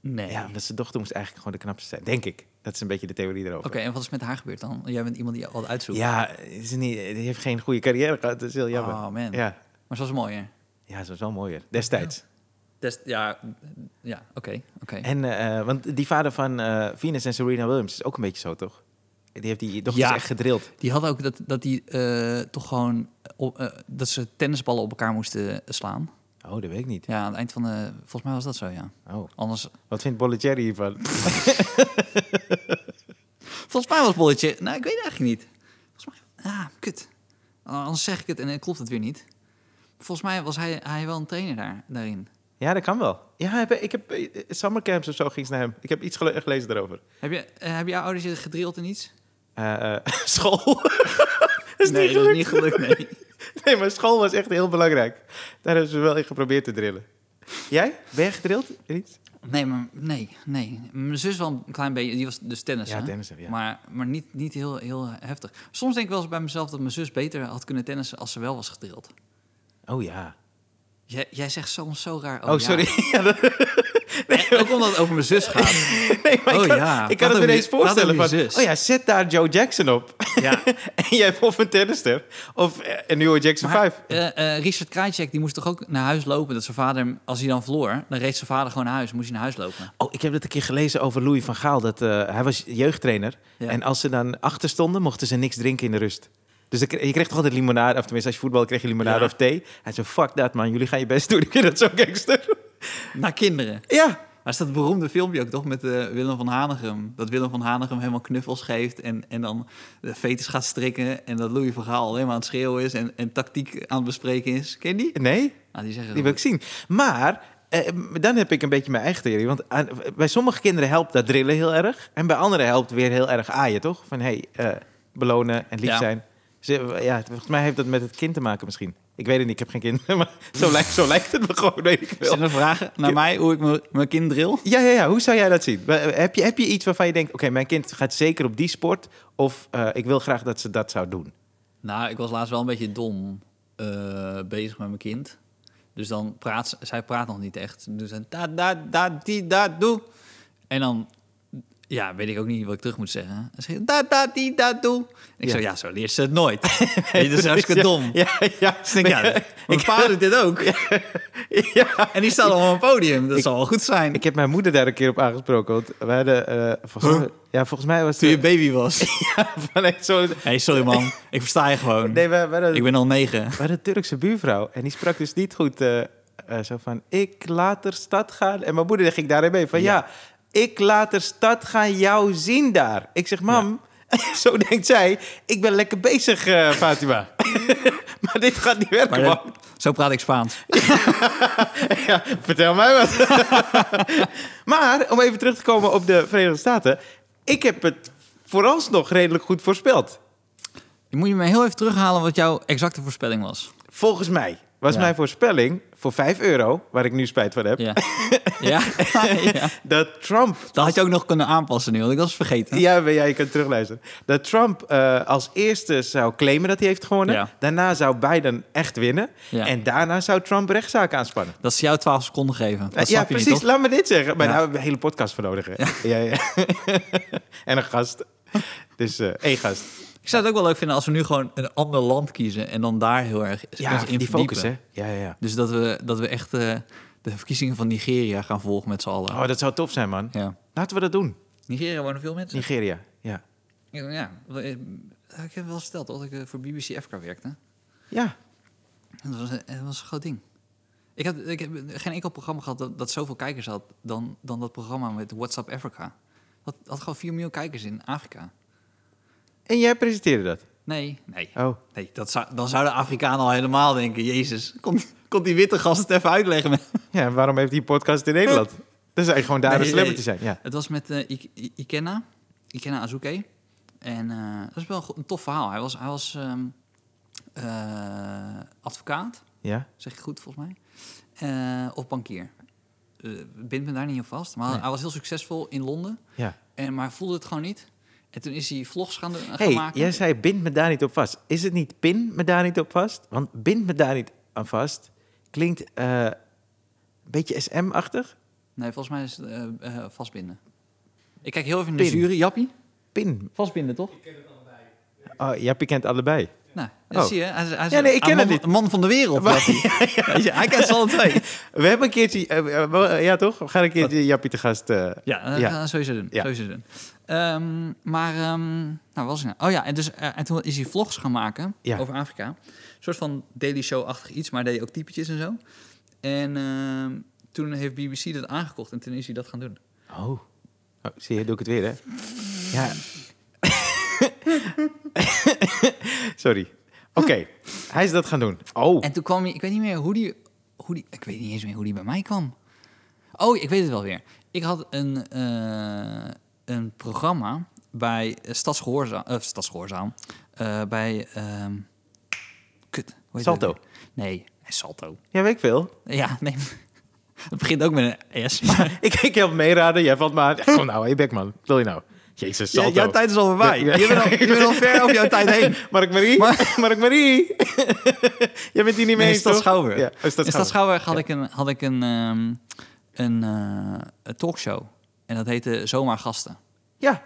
B: Nee.
A: Ja, omdat zijn dochter moest eigenlijk gewoon de knapste zijn, denk ik. Dat is een beetje de theorie erover.
B: Oké, en wat is met haar gebeurd dan? Jij bent iemand die altijd uitzoekt.
A: Ja, is niet, die heeft geen goede carrière gehad. Dat is heel jammer.
B: Oh man.
A: Ja,
B: Maar ze was mooier.
A: ja ze was wel mooier. Destijds.
B: Test, ja, ja oké. oké.
A: En, eh, want die vader van eh, Venus en Serena Williams is ook een beetje zo, toch? Die heeft die dochters
B: Ja.
A: echt gedrild.
B: Die hadden ook dat, dat die eh, toch gewoon... op- eh, dat ze tennisballen op elkaar moesten slaan.
A: Oh, dat weet ik niet.
B: Ja, aan het eind van de... Volgens mij was dat zo, ja.
A: Oh.
B: Anders...
A: Wat vindt Bollettieri hiervan?
B: Volgens mij was Bolletje... Nou, ik weet het eigenlijk niet. Volgens mij... Ah, kut. Anders zeg ik het en dan klopt het weer niet. Volgens mij was hij, hij wel een trainer daar, daarin.
A: Ja, dat kan wel. Ja, ik heb, ik heb eh, summercamps of zo ging ze naar hem. Ik heb iets gele- gelezen daarover.
B: Heb je, eh, hebben jouw ouders je gedrild in iets?
A: Eh, eh, [LAUGHS] school. is
B: nee,
A: niet
B: dat
A: gelukt.
B: is niet gelukt, nee.
A: [LAUGHS] Nee, maar school was echt heel belangrijk. Daar hebben ze wel in geprobeerd te drillen. Jij? Ben je gedrild? Iets?
B: Nee, maar nee, nee. Mijn zus wel een klein beetje, die was dus tennis.
A: Ja,
B: hè?
A: tennissen, ja.
B: Maar, maar niet, niet heel, heel heftig. Soms denk ik wel eens bij mezelf dat mijn zus beter had kunnen tennissen als ze wel was gedrild.
A: Oh ja.
B: Jij, jij zegt soms zo raar.
A: Oh, sorry. [LAUGHS]
B: [LAUGHS] Ja.
A: Ja, dat-
B: En Ook omdat het over mijn
A: [LAUGHS]
B: zus gaat.
A: nee, maar
B: Oh
A: ik kan,
B: ja,
A: ik
B: praat
A: kan het me
B: over
A: ineens
B: je- praat
A: voorstellen. Van,
B: over je zus.
A: oh ja, zet daar Joe Jackson op. [LAUGHS]
B: Ja.
A: en jij hebt of een tennister of eh, een nieuwe Jackson
B: Maar,
A: 5.
B: eh, eh, Richard Krajcek, die moest toch ook naar huis lopen. Dat zijn vader, hem- als hij dan verloor, dan reed zijn vader gewoon naar huis. Moest hij naar huis lopen.
A: Oh, ik heb dat een keer gelezen over Louis van Gaal. Dat, eh, hij was jeugdtrainer.
B: Ja.
A: En als ze dan achter stonden, mochten ze niks drinken in de rust. Dus dan kre- je kreeg toch altijd limonade, of tenminste als je voetbal kreeg je limonade
B: Ja.
A: of thee. Hij zei, fuck dat man, jullie gaan je best doen. [LAUGHS] Ik vind dat zo gangster.
B: Naar kinderen.
A: ja,
B: Maar is dat beroemde filmpje ook toch met eh, Willem van Hanegem? Dat Willem van Hanegem helemaal knuffels geeft en, en dan de fetus gaat strikken. En dat Louis van Gaal alleen maar aan het schreeuwen is en, en tactiek aan het bespreken is. Ken je die?
A: nee,
B: Ah, die zeggen
A: die wil ik zien. Maar eh, dan heb ik een beetje mijn eigen theorie. Want aan- bij sommige kinderen helpt dat drillen heel erg. En bij anderen helpt weer heel erg aaien, toch? Van hé, hey, eh, belonen en lief
B: Ja.
A: zijn. Ze- ja, volgens mij heeft dat met het kind te maken misschien. Ik weet het niet, ik heb geen kinderen, [LAUGHS] maar zo lijkt, zo lijkt het me gewoon, weet ik wel.
B: Zijn er vragen naar mij hoe ik mijn- mijn kind drill?
A: Ja, ja, ja. Hoe zou jij dat zien? Wa- eh, Heb je, heb je iets waarvan je denkt... oké, mijn kind gaat zeker op die sport... of eh, ik wil graag dat ze dat zou doen?
B: Nou, ik was laatst wel een beetje dom eh, bezig met mijn kind. Dus dan praat ze- zij praat nog niet echt. Dus dan da da da die da doe. En dan ja, weet ik ook niet wat ik terug moet zeggen. Dan zeg je da da die da doe. En ik
A: Ja.
B: zeg ja, zo leert ze het
A: [LAUGHS]
B: nooit. Weet je, dat is hartstikke
A: Ja,
B: dom.
A: Ja, ja.
B: Dus ik denk, ja, mijn pa doet dit ook.
A: Ja.
B: En die staat al op een podium. Dat
A: Ik-
B: zal wel goed zijn.
A: Ik heb mijn moeder daar een keer op aangesproken. Want we hadden... eh, volgens, mij- ja, volgens mij was
B: toen je
A: het...
B: baby was.
A: Van, echt zo,
B: [LAUGHS] hey, sorry man. Ik versta je gewoon.
A: nee, we, we hadden,
B: Ik ben al negen.
A: we hadden een Turkse buurvrouw. En die sprak dus niet goed eh, eh, zo van... Ik later stad gaan... En mijn moeder ging daarin mee. Van ja, ik later stad gaan jou zien daar. Ik zeg, mam... [LAUGHS] Zo denkt zij, ik ben lekker bezig, eh, [LAUGHS] Fatima. maar dit gaat niet werken,
B: Maar
A: man.
B: dat- zo praat ik Spaans.
A: Ja, vertel mij wat. [LAUGHS] maar om even terug te komen op de Verenigde Staten. Ik heb het vooralsnog redelijk goed voorspeld.
B: Je moet je me heel even terughalen wat jouw exacte voorspelling was.
A: Volgens mij was
B: Ja.
A: mijn voorspelling voor 5 euro, waar ik nu spijt van heb, [LAUGHS]
B: Ja. ja. ja.
A: dat Trump.
B: Dat had je ook nog kunnen aanpassen nu, want ik was het vergeten.
A: Ja, maar ja, je kunt terugluisteren. Dat Trump eh, als eerste zou claimen dat hij heeft gewonnen.
B: Ja.
A: Daarna zou Biden echt winnen.
B: Ja.
A: En daarna zou Trump rechtszaak aanspannen.
B: Dat ze jou 12 seconden geven. Dat
A: ja,
B: snap je
A: precies.
B: niet, toch?
A: Laat me dit zeggen. Maar
B: Ja.
A: daar hebben we een hele podcast voor nodig. hè? Ja. Ja, [LAUGHS] en een gast. Dus eh één gast.
B: Ik zou het ook wel leuk vinden als we nu gewoon een ander land kiezen... en dan daar heel erg ons in
A: die
B: verdiepen.
A: focus, hè? Ja, ja, ja.
B: Dus dat we, dat we echt eh, de verkiezingen van Nigeria gaan volgen met z'n allen.
A: Oh, dat zou tof zijn, man.
B: Ja.
A: Laten we dat doen.
B: Nigeria wonen veel mensen.
A: Nigeria. Ja.
B: Ja, wel, eh, ik heb wel verteld dat ik eh, voor BBC Africa werkte.
A: Ja.
B: En Dat was, een- dat was een groot ding. Ik heb, ik heb geen enkel programma gehad dat, dat zoveel kijkers had dan, dan dat programma met WhatsApp Africa. Dat had gewoon 4 miljoen kijkers in Afrika.
A: En jij presenteerde dat?
B: Nee, nee.
A: Oh.
B: nee dat zou, dan zouden Afrikanen al helemaal denken, jezus, komt kon die witte gast het even uitleggen?
A: Ja, waarom heeft die podcast in Nederland? Dan zou je gewoon daar
B: Nee,
A: een celebrity
B: nee.
A: zijn. Ja.
B: Het was met eh, Ik- I- Ikenna, Ikenna Azuke. En eh, dat is wel een go- een tof verhaal. Hij was, hij was ehm, eh, advocaat.
A: Ja.
B: Zeg ik goed, volgens mij. Eh, of bankier. Eh bind me daar niet op vast. Maar
A: Nee.
B: hij was heel succesvol in Londen.
A: Ja.
B: En, maar hij voelde het gewoon niet. En toen is hij vlogs gaan, eh, gaan
A: hey,
B: maken.
A: jij zei bind me daar niet op vast. Is het niet pin me daar niet op vast? Want bind me daar niet aan vast klinkt eh, een beetje SM-achtig.
B: Nee, volgens mij is het eh, eh, vastbinden. Ik kijk heel even naar de
A: Pin.
B: jury. Jappie?
A: Pin.
B: Vastbinden, toch?
A: Oh, Jappie kent allebei.
B: Nou, dat
A: Oh.
B: zie je. Hij, is- hij is
A: Ja, nee, ik ken
B: een man,
A: het
B: een man van de
A: [LAUGHS]
B: wereld.
A: Maar-
B: was hij. Weet je, hij kent ze alle twee.
A: We hebben een keertje... eh, eh, wel, eh, ja, toch? We gaan een keertje Jappie te gast... eh,
B: Ja, dat
A: Ja.
B: gaan we sowieso doen.
A: Ja.
B: Sowieso doen. Ehm, maar, ehm, nou, wat was het nou? Oh ja, en, dus, eh, en toen is hij vlogs gaan maken
A: Ja.
B: over Afrika. Een soort van Daily Show-achtig iets, maar hij deed ook typetjes en zo. En ehm, toen heeft BBC dat aangekocht en toen is hij dat gaan doen.
A: Oh. Oh, Zie je, doe ik het weer, hè? Ja. [LAUGHS] Sorry. Oké, hij is dat gaan doen. Oh,
B: En toen kwam hij, ik weet niet meer hoe die, hoe die, ik weet niet eens meer hoe die bij mij kwam. Oh, ik weet het wel weer. Ik had een, eh, een programma bij eh, Stadsgehoorzaam, eh, Stadsgehoorzaam eh, bij, ehm, kut. hoe heet
A: Salto.
B: dat weer? Nee, eh, Salto.
A: ja, weet ik veel.
B: Ja, nee. [LAUGHS] Het begint ook met
A: [LAUGHS]
B: een S. maar-
A: Ik, ik help meeraden, jij valt maar aan. Kom nou, hé bek man, wil je nou? Jezus, Salto.
B: Jouw tijd is al voorbij.
A: Ja, ja.
B: Je, bent al, je bent al ver over jouw tijd heen.
A: [LAUGHS] Mark Marie,
B: Maar-
A: Mark Marie.
B: [LAUGHS]
A: jij bent hier niet mee
B: Nee,
A: eens,
B: Stad
A: toch?
B: Schouwburg.
A: Ja, oh, Stad
B: in Stad
A: Schouwburg.
B: Schouwburg had ik een, had ik een, ehm, een, eh, een talkshow. En dat heette Zomaar Gasten.
A: Ja,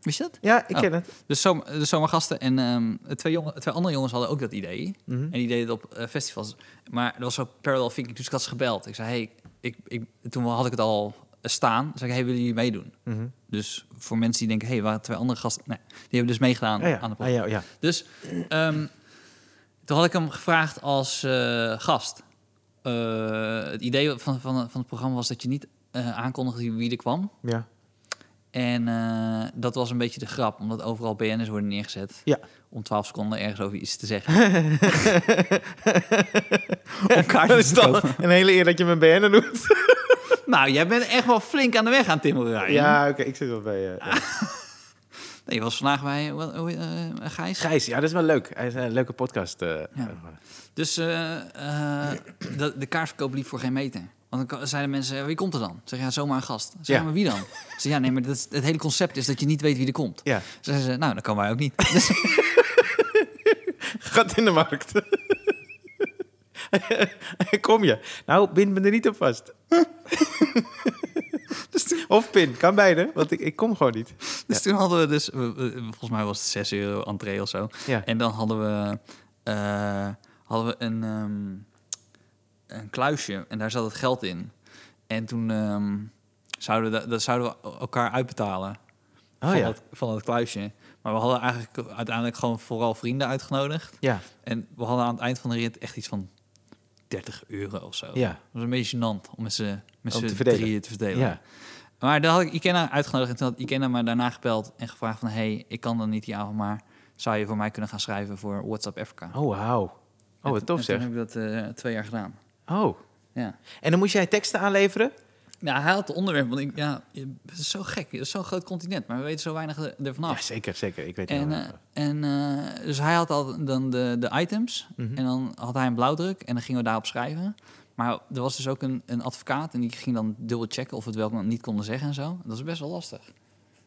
B: Wist je dat?
A: ja, ik
B: Oh.
A: ken het.
B: Dus, zomaar- dus Zomaar Gasten en ehm, twee, jongen, twee andere jongens hadden ook dat idee.
A: Mhm.
B: En die deden het op eh, festivals. Maar er was zo parallel thinking. Dus ik had ze gebeld. Ik zei, hey, ik, ik, toen had ik het al staan. Zei ik, hey, willen jullie meedoen?
A: Mhm.
B: Dus voor mensen die denken, hé, hey, waren twee andere gasten? Nee, die hebben dus meegedaan
A: Ah, ja.
B: aan de podcast.
A: Ah, ja, ja.
B: Dus ehm, toen had ik hem gevraagd als eh, gast. Eh, het idee van, van, van het programma was dat je niet eh aankondigde wie er kwam.
A: ja.
B: En eh, dat was een beetje de grap, omdat overal BN'ers worden neergezet.
A: Ja.
B: Om 12 seconden ergens over iets te zeggen. [LAUGHS] om
A: [LAUGHS]
B: kaarten te kopen.
A: Een hele eer dat je mijn BN'er doet.
B: Nou, jij bent echt wel flink aan de weg aan timmeren. Ryan.
A: Ja, oké, ik zit wel bij... eh, ja.
B: Nee, je was vandaag bij wat, hoe, eh, Gijs.
A: Gijs, ja, dat is wel leuk. Hij is een leuke podcast. eh,
B: Dus eh, eh, de, de kaartverkoop liep voor geen meter. Want dan ko- zeiden mensen, eh, wie komt er dan? Zeg ja, zomaar een gast. Zeg
A: Ja.
B: maar wie dan? Ze zei, ja, nee, maar dat is- het hele concept is dat je niet weet wie er komt.
A: Ja,
B: Ze zeiden ze, nou, dat kan wij ook niet. [LAUGHS] Dus,
A: gat in de markt. [LAUGHS] Kom je. Nou, bind me er niet op
B: [LAUGHS]
A: vast. of pin, kan beide, want ik, ik kom gewoon niet.
B: dus toen hadden we dus, we- we- volgens mij was het 6 euro entree of zo.
A: Ja.
B: En dan hadden we, eh, hadden we een, ehm, een kluisje en daar zat het geld in. En toen ehm, zouden, we, da- dat zouden we elkaar uitbetalen.
A: Oh
B: van,
A: ja.
B: het, van het kluisje. Maar we hadden eigenlijk uiteindelijk gewoon vooral vrienden uitgenodigd.
A: Ja,
B: En we hadden aan het eind van de rit echt iets van 30 euro of zo.
A: ja.
B: Dat was een beetje gênant om met z'n met
A: Om
B: z'n
A: te verdelen.
B: drieën te verdelen.
A: Ja.
B: Maar daar had ik Ikena uitgenodigd en toen had Ikena me daarna gebeld en gevraagd van... hey, ik kan dan niet die avond, maar zou je voor mij kunnen gaan schrijven voor WhatsApp Africa?
A: Oh, wauw. Oh, wat tof
B: En toen
A: zeg.
B: heb ik dat eh, twee jaar gedaan.
A: Oh.
B: Ja.
A: En dan moest jij teksten aanleveren?
B: Nou, hij had het onderwerp, want ik, ja, je- het is zo gek. Het is zo'n groot continent, maar we weten zo weinig er- ervan af.
A: Ja, zeker, zeker. Ik weet niet.
B: Ah. En,
A: wel.
B: eh, en eh, dus hij had al dan de, de items
A: Mhm.
B: en dan had hij een blauwdruk en dan gingen we daarop schrijven. Maar er was dus ook een, een advocaat en die ging dan dubbel checken of we het wel kon- niet konden zeggen en zo. Dat is best wel lastig.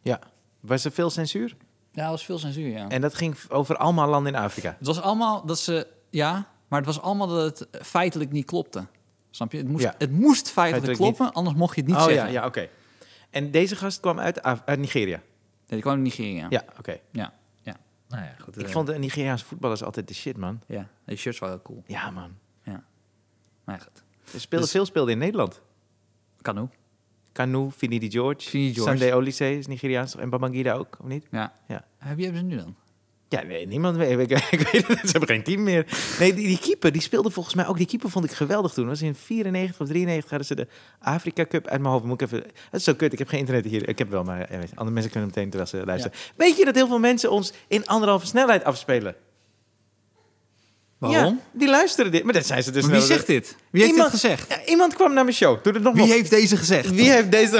A: ja. Was er veel censuur?
B: Ja, er was veel censuur, ja.
A: En dat ging over allemaal landen in Afrika.
B: Het was allemaal dat ze, ja, maar het was allemaal dat het feitelijk niet klopte. Snap je? Het moest,
A: Ja.
B: het moest feitelijk,
A: Feitelijk
B: kloppen, anders mocht je het niet
A: oh
B: zeggen.
A: ja, ja, oké. En deze gast kwam uit, Af- uit Nigeria?
B: Nee, die kwam uit Nigeria.
A: Ja, oké.
B: Ja. ja. Nou ja, goed.
A: Ik
B: eh,
A: vond de Nigeriaanse voetballers altijd de shit, man.
B: Ja, die shirts waren cool.
A: Ja, man.
B: Maar ja, goed,
A: Er speelde,
B: Dus-
A: Veel speelde in Nederland.
B: kan ook.
A: Kanu, Finidi George,
B: Finidi George.
A: Sunday Olise is Nigeriaans. toch? En Babangida ook, of niet?
B: Ja.
A: Ja.
B: Heb je hebben ze nu dan?
A: Ja, nee, niemand weet. [LAUGHS] Ik, ik weet het, ze hebben geen team meer. Nee, die, die keeper, die speelde volgens mij ook. Die keeper vond ik geweldig toen. Dat was in 94 of 93 hadden ze de Afrika Cup uit mijn hoofd. Moet ik even... Het is zo kut, ik heb geen internet hier. Ik heb wel, maar eh, andere mensen kunnen meteen terwijl ze luisteren. Weet je dat heel veel mensen ons in anderhalve snelheid afspelen?
B: Waarom?
A: Ja, die luisteren dit. Maar dat zijn ze dus...
B: Maar wie
A: wel-
B: zegt dit? Wie heeft
A: Iemand-
B: dit gezegd?
A: Ja, iemand kwam naar mijn show. Doe het nog
B: Wie
A: maar.
B: heeft deze gezegd?
A: Wie heeft deze...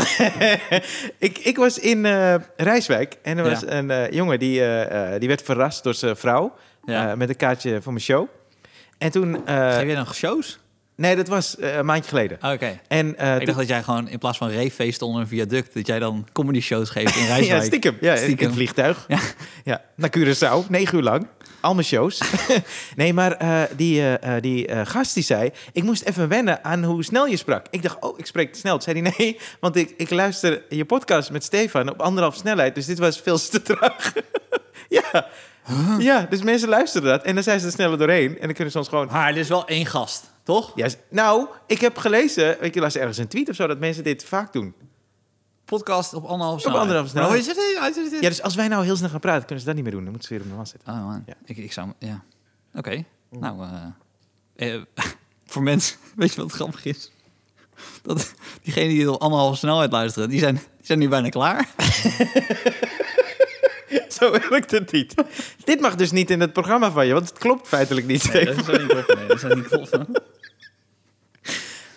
A: [LAUGHS] ik, ik was in eh, Rijswijk en er was
B: Ja.
A: een eh, jongen die, eh, eh, die werd verrast door zijn vrouw
B: Ja.
A: eh, met een kaartje voor mijn show. En toen... eh,
B: Heb jij nog shows?
A: nee, dat was eh, een maandje geleden.
B: Oké.
A: En, eh,
B: Ik dacht dat jij gewoon in plaats van reeffeesten onder een viaduct... dat jij dan comedy shows geeft in Rijswijk.
A: [LAUGHS] Ja, stiekem. Ja, in
B: Stiekem.
A: het vliegtuig.
B: Ja.
A: Ja. Naar Curaçao, negen uur lang. Al mijn [LAUGHS] shows. nee, maar eh, die, eh, eh, die eh, gast die zei... ik moest even wennen aan hoe snel je sprak. Ik dacht, oh, ik spreek snel. Toen zei hij, nee, want ik, ik luister je podcast met Stefan... op anderhalf snelheid, dus dit was veel te traag. [LAUGHS] ja, Ja, dus mensen luisteren dat. En dan zijn ze er sneller doorheen. En dan kunnen ze ons gewoon...
B: Maar er is wel één gast, toch?
A: Ja, s- nou, ik heb gelezen... Ik las ergens een tweet of zo dat mensen dit vaak doen.
B: Podcast op anderhalf
A: Op anderhalf
B: Maar hoe is
A: Ja,
B: het?
A: dus als wij nou heel snel gaan praten, kunnen ze dat niet meer doen. Dan moeten ze weer op de man zitten.
B: Oh man,
A: Ja.
B: ik, ik zou... Ja, oké. Nou, eh, [LAUGHS] eh, voor mensen... [LAUGHS] Weet je wat grappig is? Dat diegenen die op anderhalf snelheid luisteren... die zijn, die zijn nu bijna klaar.
A: [LAUGHS] Zo werkt het niet. Dit mag dus niet in het programma van je, want het klopt feitelijk niet.
B: dat is niet kloppen. dat zou niet kloppen.
A: [LAUGHS]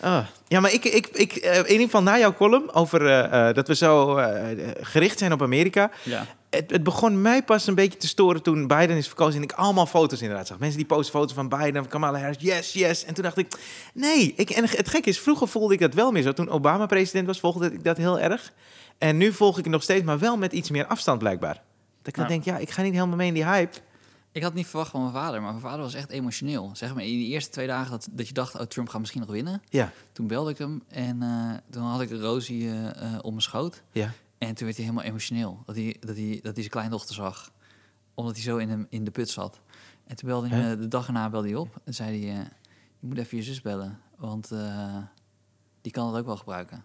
A: Ah. Ja, maar ik, ik, ik, eh, in ieder geval na jouw column over eh, eh, dat we zo eh, gericht zijn op Amerika.
B: [LAUGHS] Ja.
A: Het, het begon mij pas een beetje te storen toen Biden is verkozen en ik allemaal foto's inderdaad zag. Mensen die posten foto's van Biden, van Kamala Harris, yes, yes. En toen dacht ik, nee. Ik, en het gekke is, vroeger voelde ik dat wel meer zo. Toen Obama president was, volgde ik dat heel erg. En nu volg ik het nog steeds, maar wel met iets meer afstand blijkbaar. Dat ik dan
B: Ja.
A: denk, ja, ik ga niet helemaal mee in die hype.
B: Ik had niet verwacht van mijn vader, maar mijn vader was echt emotioneel. Zeg maar, in de eerste twee dagen dat, dat je dacht, oh, Trump gaat misschien nog winnen.
A: Ja,
B: Toen belde ik hem en eh, toen had ik Rosie eh, eh, op mijn schoot.
A: ja.
B: En toen werd hij helemaal emotioneel. Dat hij, dat hij, dat hij zijn kleindochter zag. Omdat hij zo in, hem, in de put zat. En toen belde hij me, de dag erna belde hij op. En zei hij, eh, je moet even je zus bellen. Want eh, die kan het ook wel gebruiken.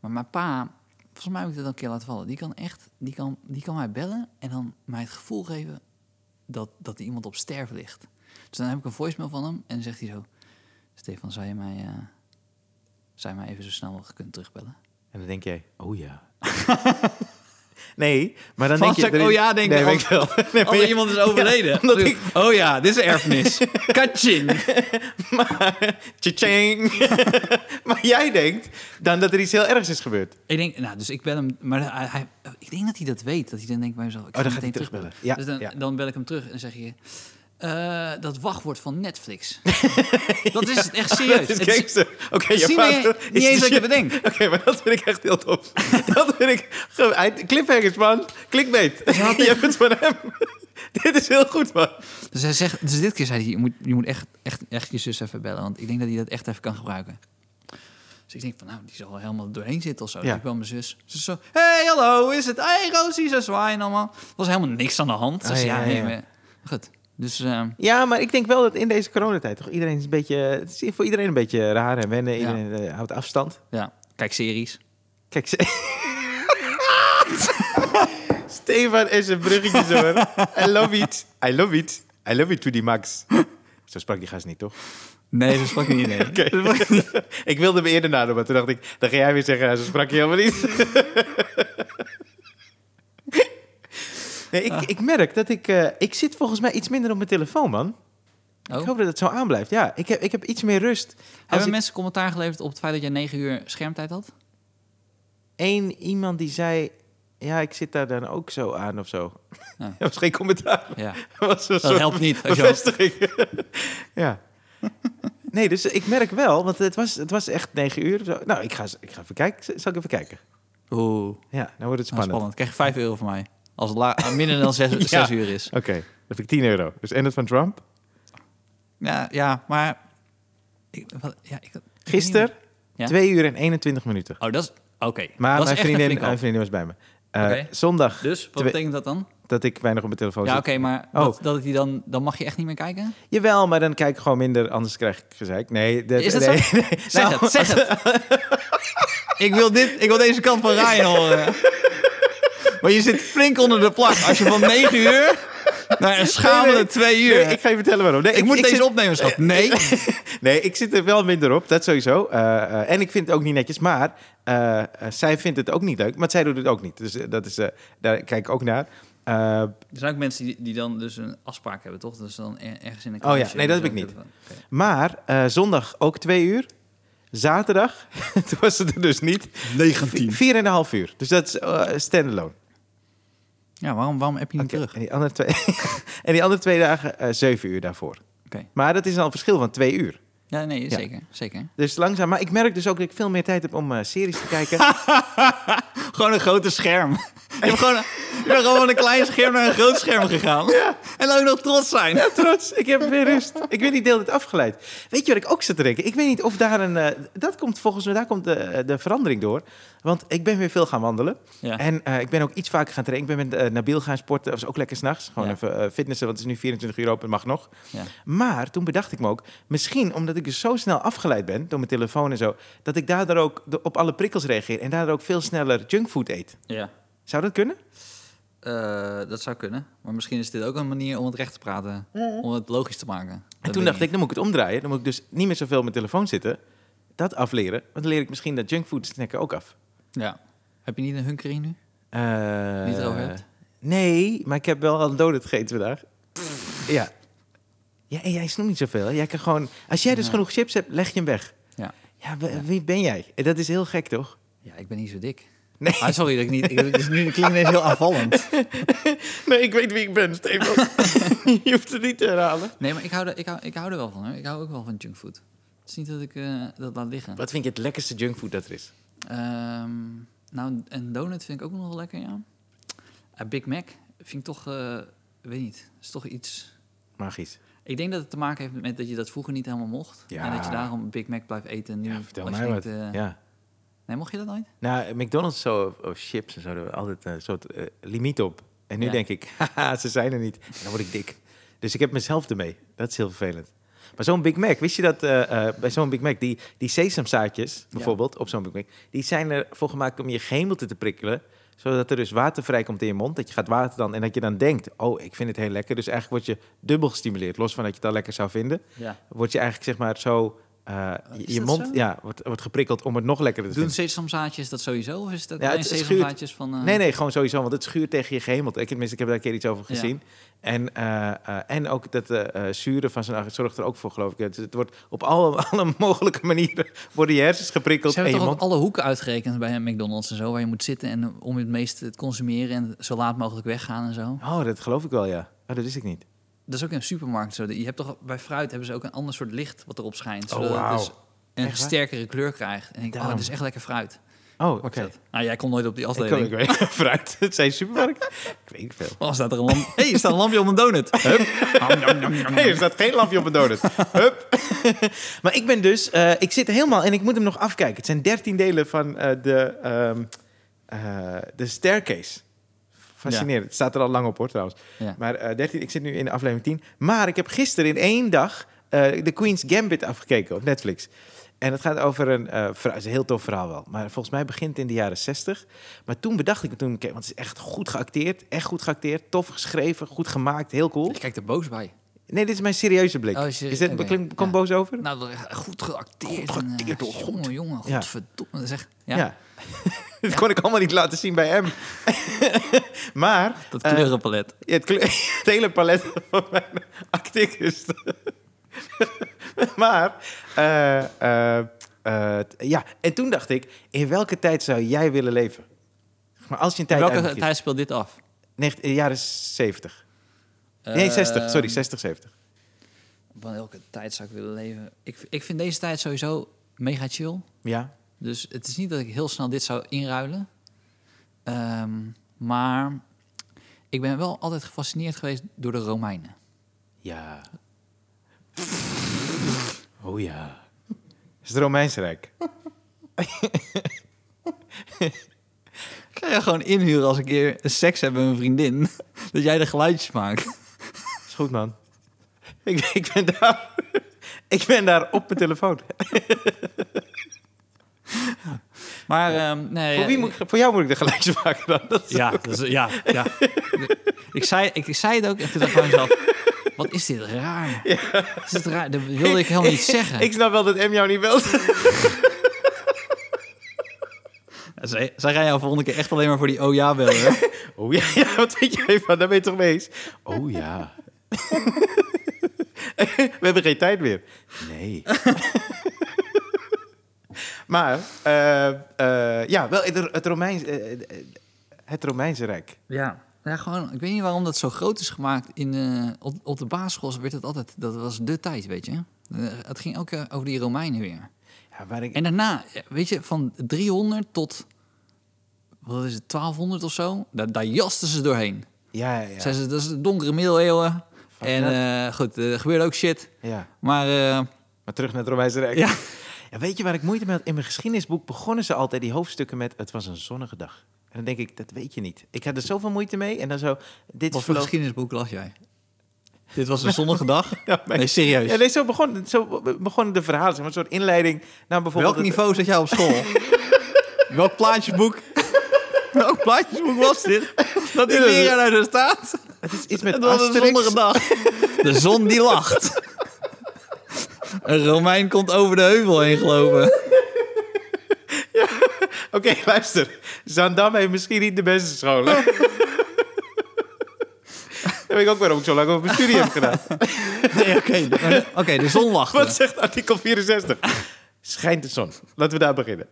B: Maar mijn pa, volgens mij moet ik dat een keer laten vallen. Die kan echt, die kan, die kan mij bellen en dan mij het gevoel geven dat, dat er iemand op sterven ligt. Dus dan heb ik een voicemail van hem en dan zegt hij zo... Stefan, zou je mij, eh, zou je mij even zo snel mogelijk kunnen terugbellen?
A: En dan denk jij, oh [LAUGHS] ja. nee, maar dan denk
B: Vast
A: je...
B: zeg ik,
A: er is-
B: oh ja, denk
A: nee,
B: ik,
A: weet ik wel. [LAUGHS] Nee, maar
B: Als
A: ja,
B: er Oh, iemand is overleden.
A: [LAUGHS] omdat ik-
B: Oh ja, dit is een
A: [LAUGHS]
B: erfenis. Katjin.
A: maar, [LAUGHS] tja-tjing. maar jij denkt dan dat er iets heel ergs is gebeurd.
B: ik denk, nou, dus ik bel hem. Maar hij, hij- ik denk dat hij dat weet. Dat hij dan denkt bij mezelf, ik ga
A: Oh, dan
B: meteen
A: gaat hij terugbellen.
B: terugbellen.
A: Ja,
B: dus
A: ja.
B: dan, dan bel ik hem terug en zeg je... eh, dat wachtwoord van
A: [LAUGHS]
B: Netflix. dat is echt serieus.
A: Dat is
B: Het is-
A: gangster. Oké, je
B: Zie je
A: vader
B: niet eens dat
A: shit.
B: ik het bedenk.
A: [LAUGHS] Oké, maar dat vind ik echt heel tof. [LAUGHS] dat vind ik... ge- hij- Cliffhangers, man. Clickbait. [LAUGHS] je hebt het van hem. Dit is heel goed, man.
B: Dus, hij zegt, dus dit keer zei hij, je moet, je moet echt, echt, echt je zus even bellen. Want ik denk dat hij dat echt even kan gebruiken. Dus ik denk van, nou, die zal wel helemaal doorheen zitten of zo. Dus
A: Ja.
B: ik bel mijn zus. Ze zo, hey, hallo, hoe is het? Hey, Rosie, ze zwaaien allemaal. Er was helemaal niks aan de hand.
A: Ah,
B: dus
A: ja,
B: ja,
A: ja,
B: nee,
A: ja.
B: maar- Goed. Dus ehm,
A: Ja, maar ik denk wel dat in deze coronatijd toch iedereen is een beetje... Het is voor iedereen een beetje raar en wennen.
B: Ja.
A: Iedereen eh, houdt afstand.
B: ja, kijk series.
A: Kijk, ze... [LAUGHS] Stefan is een bruggetje hoor. I love it. I love it. I love it to the max. Zo sprak die gast niet, toch?
B: Nee, dat sprak ik [LAUGHS] niet. Nee.
A: Oké. [LAUGHS] ik wilde me eerder nadoen, maar toen dacht ik... Dan ga jij weer zeggen, zo sprak je helemaal niet. [LAUGHS] nee, ik, ik merk dat ik... eh, ik zit volgens mij iets minder op mijn telefoon, man. Ik
B: Oh.
A: hoop dat het zo aanblijft. Ja, ik heb, ik heb iets meer rust. Als
B: Hebben
A: ik
B: mensen commentaar geleverd op het feit dat jij negen uur schermtijd had?
A: één iemand die zei... Ja, ik zit daar dan ook zo aan of zo. [LAUGHS]
B: Ah.
A: Dat was geen commentaar.
B: Ja.
A: [LAUGHS] Dat was een
B: Dat
A: soort
B: helpt niet. als je al-
A: bevestiging. [LAUGHS] ja. Nee, dus ik merk wel, want het was, het was echt negen uur. of Zo. Nou, ik ga, ik ga even kijken. Z- Zal ik even kijken?
B: Oeh,
A: Ja, nou wordt het
B: spannend.
A: spannend.
B: spannend. Krijg je vijf euro van mij. Als het [LAUGHS] la- minder dan zes, zes uur is.
A: Oké, dan heb ik 10 euro. Dus en dat van Trump.
B: Ja, ja maar... Ik, wat, ja, ik, ik weet niet
A: Gisteren,
B: Ja?
A: 2 uur en 21 minuten.
B: meer. Oh, dat is... Oké.
A: Maar
B: dat
A: mijn
B: is echt een
A: vriendin,
B: flinke
A: mijn vriendin was bij me. Eh,
B: Oké.
A: Zondag,
B: Dus, wat
A: Twee-
B: betekent dat dan?
A: dat ik weinig op mijn telefoon
B: ja, oké,
A: zit.
B: maar
A: Oh.
B: dat, dat hij dan... Dan mag je echt niet meer kijken?
A: Jawel, maar dan kijk ik gewoon minder, anders krijg ik gezeik. Nee,
B: Is dat
A: nee,
B: zo?
A: nee.
B: Zeg
A: Nou,
B: het, zeg het.
A: [LAUGHS]
B: ik, wil dit, ik wil deze kant van Ryan horen. Maar je zit flink onder de plak. Als je van 9 uur naar een
A: Nee,
B: schamele
A: nee.
B: 2 uur...
A: Nee, ik
B: ik,
A: ga je vertellen waarom. Nee,
B: moet deze
A: zit-
B: opnemen, schat. Nee.
A: [LAUGHS] Nee, ik zit er wel minder op, dat sowieso. Eh, eh, en ik vind het ook niet netjes, maar eh, eh, zij vindt het ook niet leuk, maar zij doet het ook niet. Dus eh, dat is, eh, daar kijk ik ook naar. Eh,
B: Er zijn ook mensen die, die dan dus een afspraak hebben, toch? Dat is dan er- ergens in een
A: Oh ja,
B: kruisje
A: nee, dat
B: en
A: heb
B: zo
A: ik niet.
B: telefoon. Oké.
A: maar eh, zondag ook twee uur. Zaterdag, [LAUGHS] toen was het er dus niet.
C: 19.
A: Vier en een half uur. Dus dat is eh, standalone.
B: Ja, waarom, waarom heb je niet
A: Oké,
B: terug?
A: En, die andere twee, [LAUGHS] en die andere twee dagen eh, zeven uur daarvoor.
B: Oké.
A: Maar dat is al een verschil van twee uur.
B: Ja, nee,
A: Ja.
B: zeker. zeker.
A: [LAUGHS] Ah, Dus langzaam. Maar ik merk dus ook dat ik veel meer tijd heb om eh, series te kijken.
B: gewoon een grote scherm. Je hebt gewoon, je bent gewoon van een klein scherm naar een groot scherm gegaan. En dan ook nog trots zijn.
A: Ja, trots. Ik heb weer rust. Ik ben niet de hele tijd afgeleid. Weet je wat ik ook zit te denken? Ik weet niet of daar een... eh, dat komt volgens mij, daar komt de, eh, de verandering door. Want ik ben weer veel gaan wandelen.
B: Ja.
A: En eh, ik ben ook iets vaker gaan trainen. Ik ben met eh, Nabil gaan sporten. Dat was ook lekker s'nachts. Gewoon
B: Ja.
A: even eh, fitnessen, want het is nu 24 uur open. mag nog.
B: Ja.
A: Maar toen bedacht ik me ook... Misschien omdat ik dus zo snel afgeleid ben door mijn telefoon en zo... dat ik daardoor ook de- op alle prikkels reageer... en daardoor ook veel sneller junkfood eet.
B: ja.
A: Zou dat kunnen?
B: Eh, dat zou kunnen. Maar misschien is dit ook een manier om het recht te praten. Om het logisch te maken.
A: En toen dacht ik, dan moet ik het omdraaien. Dan moet ik dus niet meer zoveel op mijn telefoon zitten. Dat afleren. Want dan leer ik misschien dat junkfood snacken ook af.
B: Ja. Heb je niet een hunkering nu?
A: Eh,
B: Niet erover hebt?
A: Nee, maar ik heb wel al een donut gegeten vandaag. Ja. Ja, en jij snoept niet zoveel. hè? Jij kan gewoon... Als jij dus
B: Nee.
A: genoeg chips hebt, leg je hem weg.
B: Ja.
A: Ja, w- wie ben jij? Eh, Dat is heel gek, toch?
B: Ja, ik ben niet zo dik.
A: Nee.
B: Ah, sorry dat ik niet... Ik, het is nu klinkt ineens heel [LAUGHS] afvallend.
A: Nee, ik weet wie ik ben, [LAUGHS] Stefan. je hoeft het niet te herhalen.
B: Nee, maar ik hou, er, ik hou, ik hou er wel van. Hoor. Ik hou ook wel van junkfood. Het is niet dat ik eh, dat laat liggen.
A: Wat vind je het lekkerste junkfood dat er is?
B: Ehm, nou, een donut vind ik ook nog wel lekker, ja. Een Big Mac vind ik toch... eh, weet niet. is toch iets...
A: Magisch.
B: Ik denk dat het te maken heeft met dat je dat vroeger niet helemaal mocht.
A: Ja.
B: En dat je daarom Big Mac blijft eten. en Nu,
A: Ja, vertel
B: als je
A: mij wat.
B: denkt, eh,
A: Ja.
B: Nee, mocht je dat nooit?
A: Nou, McDonald's zo, of, of chips en zo, daar hebben we altijd een soort eh, limiet op. En nu
B: Ja.
A: denk ik, [LAUGHS] haha, ze zijn er niet. En dan word ik dik. Dus ik heb mezelf ermee. Dat is heel vervelend. Maar zo'n Big Mac, wist je dat eh, eh, bij zo'n Big Mac, die, die sesamzaadjes bijvoorbeeld op zo'n Big Mac, die zijn ervoor gemaakt om je gehemelte te prikkelen, zodat er dus water vrijkomt in je mond, dat je gaat water dan en dat je dan denkt, oh, ik vind het heel lekker. Dus eigenlijk word je dubbel gestimuleerd, los van dat je het al lekker zou vinden,
B: Ja.
A: word je eigenlijk zeg maar zo, eh,
B: Is
A: je, je
B: dat
A: mond
B: zo?
A: ja, wordt, wordt geprikkeld om het nog lekkerder te
B: Doen
A: vinden.
B: sesamzaadjes dat sowieso? Of is dat
A: Ja,
B: alleen
A: het- het schuurt.
B: sesamzaadjes van... eh,
A: Nee, nee, gewoon sowieso, want het schuurt tegen je gehemelte. Ik, tenminste, ik heb daar een keer iets over
B: Ja.
A: gezien. En, eh, eh, en ook dat eh eh, zure van zijn zorgt er ook voor, geloof ik. Het, het wordt op alle, [LAUGHS] alle mogelijke manieren worden je hersens geprikkeld.
B: Ze
A: en
B: hebben
A: je
B: toch ook
A: mond-
B: alle hoeken uitgerekend bij McDonald's en zo, waar je moet zitten en om het meest te consumeren en zo laat mogelijk weggaan en zo.
A: Oh, dat geloof ik wel, ja. Oh, dat wist ik niet.
B: Dat is ook in een supermarkt zo. Je hebt toch bij fruit hebben ze ook een ander soort licht wat erop schijnt,
A: Oh,
B: zodat
A: wauw.
B: het dus een
A: Echt waar?
B: sterkere kleur krijgt. En ik denk, oh,
A: Daarom.
B: dat is echt lekker fruit.
A: Oh, oké.
B: Is dat? Nou, jij komt nooit op die
A: Ik
B: afdeling.
A: kan ik weet [LAUGHS] fruit. Het zijn supermarkt. ik weet niet veel.
B: Oh, staat er een lamp? [LAUGHS] hey, er staat een lampje op een donut. Hup.
A: [LAUGHS]
B: Nom, nom, nom, nom.
A: Nee, er staat geen lampje op een donut. Hup. [LAUGHS] maar ik ben dus... eh, ik zit er helemaal... En ik moet hem nog afkijken. Het zijn dertien delen van eh, de, ehm, eh, de staircase. Fascinerend. Het staat er al lang op, hoor, trouwens.
B: Ja.
A: Maar eh 13, ik zit nu in aflevering 10. Maar ik heb gisteren in één dag eh The Queen's Gambit afgekeken op Netflix. En het gaat over een, eh verhaal- het is een heel tof verhaal wel. Maar volgens mij begint het in de jaren 60. Maar toen bedacht ik me toen, oké, want het is echt goed geacteerd. Echt goed geacteerd, tof geschreven, goed gemaakt, heel cool.
B: Ik kijk er boos bij.
A: Nee, dit is mijn serieuze blik.
B: Oh, serie-
A: is dit,
B: oké,
A: klink- komt
B: ja.
A: boos over?
B: Nou, dat is echt goed geacteerd.
A: Goed geacteerd,
B: en, eh,
A: hoor, goed.
B: Jongen, jongen,
A: Ja.
B: godverdomme. Zeg, ja,
A: [LAUGHS] dat kon ik allemaal niet laten zien bij hem. [LAUGHS] maar
B: dat
A: eh,
B: kleurenpalet.
A: het, kle- [LAUGHS] het hele palet [LAUGHS] van mijn acteerkunsten. [LAUGHS] maar, eh, eh, eh, t- ja, en toen dacht ik, in welke tijd zou jij willen leven? Zeg Maar als je een tijd uit
B: Welke
A: moet
B: tijd speelt dit af?
A: kiezen. Negen- eh, jaren 70. Nee,
B: Eh,
A: 60, sorry, 60, 70.
B: Ehm, Van welke tijd zou ik willen leven? Ik, ik vind deze tijd sowieso mega chill.
A: Ja,
B: Dus het is niet dat ik heel snel dit zou inruilen. Ehm, maar ik ben wel altijd gefascineerd geweest door de Romeinen.
A: ja. [LAUGHS] Oh ja. Is het Romeinse Rijk?
B: Ik ga je gewoon inhuren als ik keer seks heb met een vriendin. [LAUGHS] Dat jij de geluidjes maakt.
A: Is goed, man. [LAUGHS] Ik, ik, ben, daar, [LAUGHS] ik ben daar op mijn telefoon.
B: Maar ehm, nee, eh,
A: Voor, wie moet ik- voor jou moet ik de geluidjes maken dan. Dat is-
B: Ja, dat is- ja, [LAUGHS] ja. Ik zei, ik, ik zei het ook en toen dacht ik bij mezelf... Wat is dit raar? Is dit raar? Dat wilde ik helemaal niet zeggen.
A: Ik snap wel dat M jou niet [LAUGHS] belt.
B: zij, zij gaan jou volgende keer echt alleen maar voor die oh ja bellen. hè?
A: Oh ja, ja, wat vind jij van? Daar ben je toch mee eens? Oh ja. [LAUGHS] We hebben geen tijd meer. Nee. [LAUGHS] maar, eh, eh, ja, wel het, het, Romeins, eh, eh, het Romeinse Rijk.
B: Ja. Ja, gewoon, ik weet niet waarom dat zo groot is gemaakt. In, eh, op, op de basisschool werd het altijd, dat was de tijd, weet je. Eh, het ging ook eh, over die Romeinen weer.
A: Ja, waar ik,
B: En daarna, eh, weet je, van 300 tot wat is het, 1200 of zo? Daar, daar jasten ze doorheen.
A: Ja, ja, ja.
B: Zeiden ze, dat is de donkere middeleeuwen.
A: Fuck
B: en
A: dat.
B: eh, goed, er gebeurde ook shit.
A: ja.
B: Maar eh,
A: Maar terug naar het Romeinse Rijk.
B: ja,
A: Ja, weet je waar ik moeite mee had? In mijn geschiedenisboek begonnen ze altijd die hoofdstukken met... het was een zonnige dag. En dan denk ik, dat weet je niet. Ik had er zoveel moeite mee. En dan zo, dit
B: wat
A: is
B: voor
A: verloop...
B: geschiedenisboek las jij? Dit was een zonnige dag?
A: [LAUGHS] Ja, maar-
B: Nee, serieus.
A: Ja, nee, zo, begon, zo be- begonnen de verhalen. Zeg maar, een soort inleiding naar bijvoorbeeld...
B: Welk niveau zat jij op [LAUGHS] school? Welk plaatjesboek? Welk plaatjesboek was dit? Dat die
A: Ja, dat-
B: leraar uit de staat.
A: Het, het is iets met
B: Het was een
A: Asterix.
B: zonnige dag. De zon die lacht. Een Romein komt over de heuvel heen gelopen.
A: Oké, [LAUGHS] luister. Zandam heeft misschien niet de beste scholen.
B: [LAUGHS]
A: dat weet ik ook waarom ik zo lang over mijn studie heb gedaan.
B: Nee, oké. de- [LAUGHS] Oké, de zon
A: Wat
B: lacht.
A: zegt artikel 64? Schijnt de zon. Laten we daar beginnen.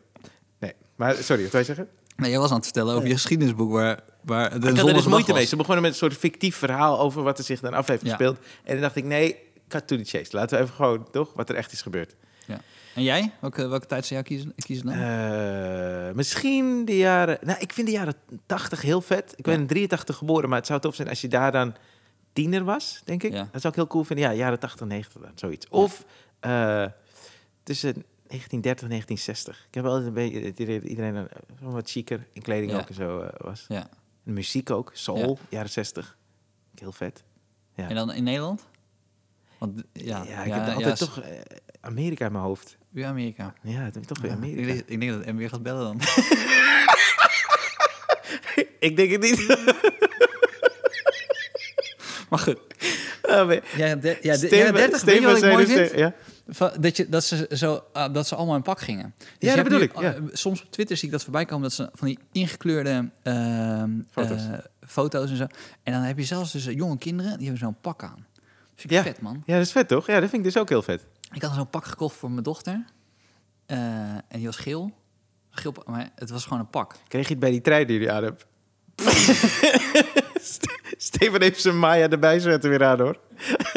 A: Nee, maar sorry, wat wij zeggen?
B: Nee, jij was aan het vertellen over je geschiedenisboek waar, waar het een
A: Ik had er
B: zonnige
A: dus
B: dag
A: moeite
B: was.
A: mee. Ze begonnen met een soort fictief verhaal over wat er zich dan af heeft
B: Ja.
A: gespeeld. En dan dacht ik, nee, cut to the chase. Laten we even gewoon, toch, wat er echt is gebeurd.
B: Ja. En jij? Welke, welke tijd zou jij kiezen, kiezen dan?
A: Eh, misschien de jaren... Nou, ik vind de jaren 80 heel vet. Ik ben in 83 geboren, maar het zou tof zijn als je daar dan tiener was, denk ik.
B: Ja.
A: Dat zou ik heel cool vinden. Ja, jaren 80, 90 dan, zoiets. Of eh, tussen 1930 en 1960. Ik heb wel een beetje het idee dat iedereen dan, eh, wat chiquer in kleding
B: Ja.
A: ook en zo eh, was.
B: Ja.
A: En muziek ook, soul, jaren 60. Heel vet. Ja.
B: En dan in Nederland? Want, ja,
A: Ja, ik heb dan altijd toch eh, Amerika in mijn hoofd.
B: Weer Amerika.
A: Ja, dan toch weer
B: Ja,
A: Amerika.
B: Ik, denk- ik denk dat M weer gaat bellen dan.
A: [LAUGHS] ik denk het niet. [LAUGHS]
B: Maar goed.
A: Ah, maar-
B: Ja, de, ja, de,
A: Steven-
B: ja, 30, weet je wat ik
A: zei
B: mooi
A: dus
B: vind?
A: tegen- Ja.
B: Va- Dat, je, dat, ze zo, ah, dat ze allemaal in pak gingen. Dus
A: dat
B: je hebt
A: bedoel
B: nu-
A: ik, ja.
B: ah, soms op Twitter zie ik dat voorbij komen... dat ze van die ingekleurde ehm,
A: Foto's.
B: eh, foto's en zo. En dan heb je zelfs dus eh, jonge kinderen... die hebben zo'n pak aan. Vind ik
A: Ja.
B: vet, man.
A: ja, dat is vet toch? Ja, dat vind ik dus ook heel vet.
B: Ik had zo'n pak gekocht voor mijn dochter. Eh, en die was geel. geel. pa- Maar het was gewoon een pak.
A: Kreeg je het bij die trein die jullie aan
B: [LAUGHS]
A: hebt? Ste- Steven heeft zijn Maya erbij zetten weer aan hoor. [LAUGHS]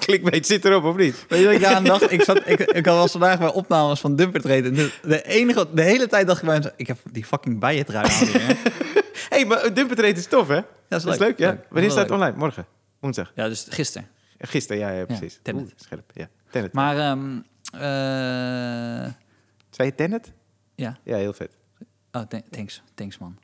A: Clickbait zit erop of niet?
B: Weet je wat ik daaraan dacht? Ik, zat, ik, ik was vandaag bij opnames van Dumper Trade. En de, de enige, de hele tijd dacht ik bij mezelf... ik heb die fucking bijentrui aan. weer, hè.
A: Hé, hey, maar Dumpertreed is tof hè? Dat
B: Dat is
A: is leuk, ja. Wanneer
B: Heel
A: staat
B: leuk.
A: het online? Morgen? Woensdag?
B: Ja, dus gisteren.
A: Eh, Gisteren, ja, ja precies.
B: Tenet.
A: Oeh, scherp, ja. Tenet.
B: Maar, ehm, eh,
A: Zei je Tenet?
B: ja.
A: Ja, heel vet.
B: Oh, tha- thanks. Thanks, man.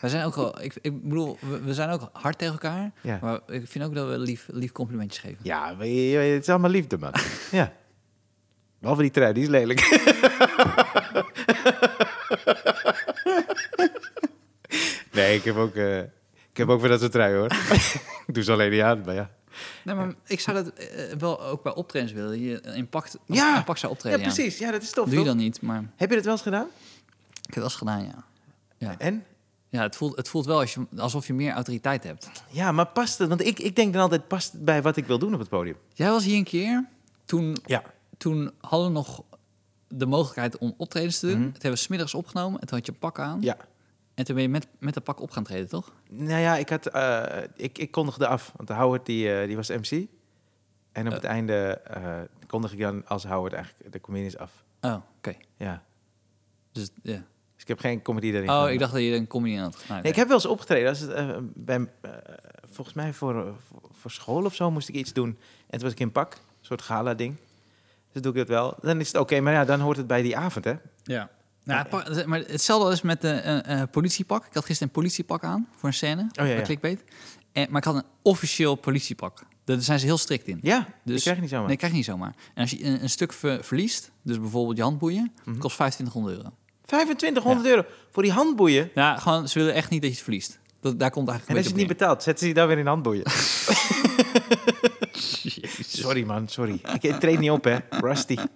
B: We zijn ook wel, ik, ik bedoel, we, we zijn ook hard tegen elkaar.
A: Ja.
B: Maar ik vind ook dat we lief, lief complimentjes geven.
A: Ja, maar je- je- het is allemaal liefde, [LAUGHS] man. ja. Behalve die trui, die is lelijk. [LAUGHS] nee, ik heb ook, eh, ik heb ook weer dat soort trui, [LAUGHS] hoor. ik doe ze alleen niet aan, maar ja.
B: Nee, maar ik zou dat eh, wel ook bij optredens willen. Je eh, in pak,
A: Ja.
B: in pak zou optreden. Ja,
A: Ja, dat is tof,
B: Doe je dan niet, maar
A: Heb je dat wel eens gedaan?
B: ik heb wel eens gedaan, ja. Ja,
A: En?
B: ja het, voelt, het voelt wel als je, alsof je meer autoriteit hebt.
A: Ja, maar past het? Want ik, ik denk dan altijd, past het bij wat ik wil doen op het podium?
B: Jij was hier een keer, toen,
A: Ja.
B: toen hadden we nog de mogelijkheid om optredens te doen.
A: Mhm.
B: Het hebben we smiddags opgenomen en toen had je een pak aan.
A: Ja.
B: En toen ben je met, met dat pak op gaan treden, toch?
A: Nou ja, ik, had, eh, ik, ik kondigde af, want Howard die, eh, die was MC. En op het einde eh kondig ik dan als Howard eigenlijk de comedians af.
B: Oh, oké.
A: Ja.
B: Dus, ja.
A: Dus ik heb geen comedy daarin.
B: Oh,
A: gedaan.
B: ik dacht dat je een comedy aan had. Nou, oké.
A: Nee, ik heb wel eens opgetreden. Als het, eh, bij, eh, volgens mij voor, eh, voor, voor school of zo moest ik iets doen. En toen was ik in pak, een soort gala-ding. Dus doe ik dat wel. Dan is het oké, maar ja, dan hoort het bij die avond, hè?
B: Ja. Nou, het pak- maar hetzelfde is met een politiepak. Ik had gisteren een politiepak aan voor een scène.
A: Oh, ja, ja.
B: bij Clickbait. En, maar ik had een officieel politiepak. Daar zijn ze heel strikt in.
A: Ja, dus,
B: Dus-
A: die krijg je niet zomaar.
B: Nee, krijg je niet zomaar. En als je een, een stuk ver- verliest, dus bijvoorbeeld je handboeien,
A: Mhm.
B: kost 2500 euro.
A: 2500 euro voor die handboeien.
B: Ja, gewoon, ze willen echt niet dat je het verliest. Dat, daar komt eigenlijk
A: En als je het niet
B: een beetje op
A: betaalt, zetten ze je dan weer in handboeien. [LAUGHS] sorry, man, sorry. Ik ik treed niet op, hè? Rusty.
B: neer.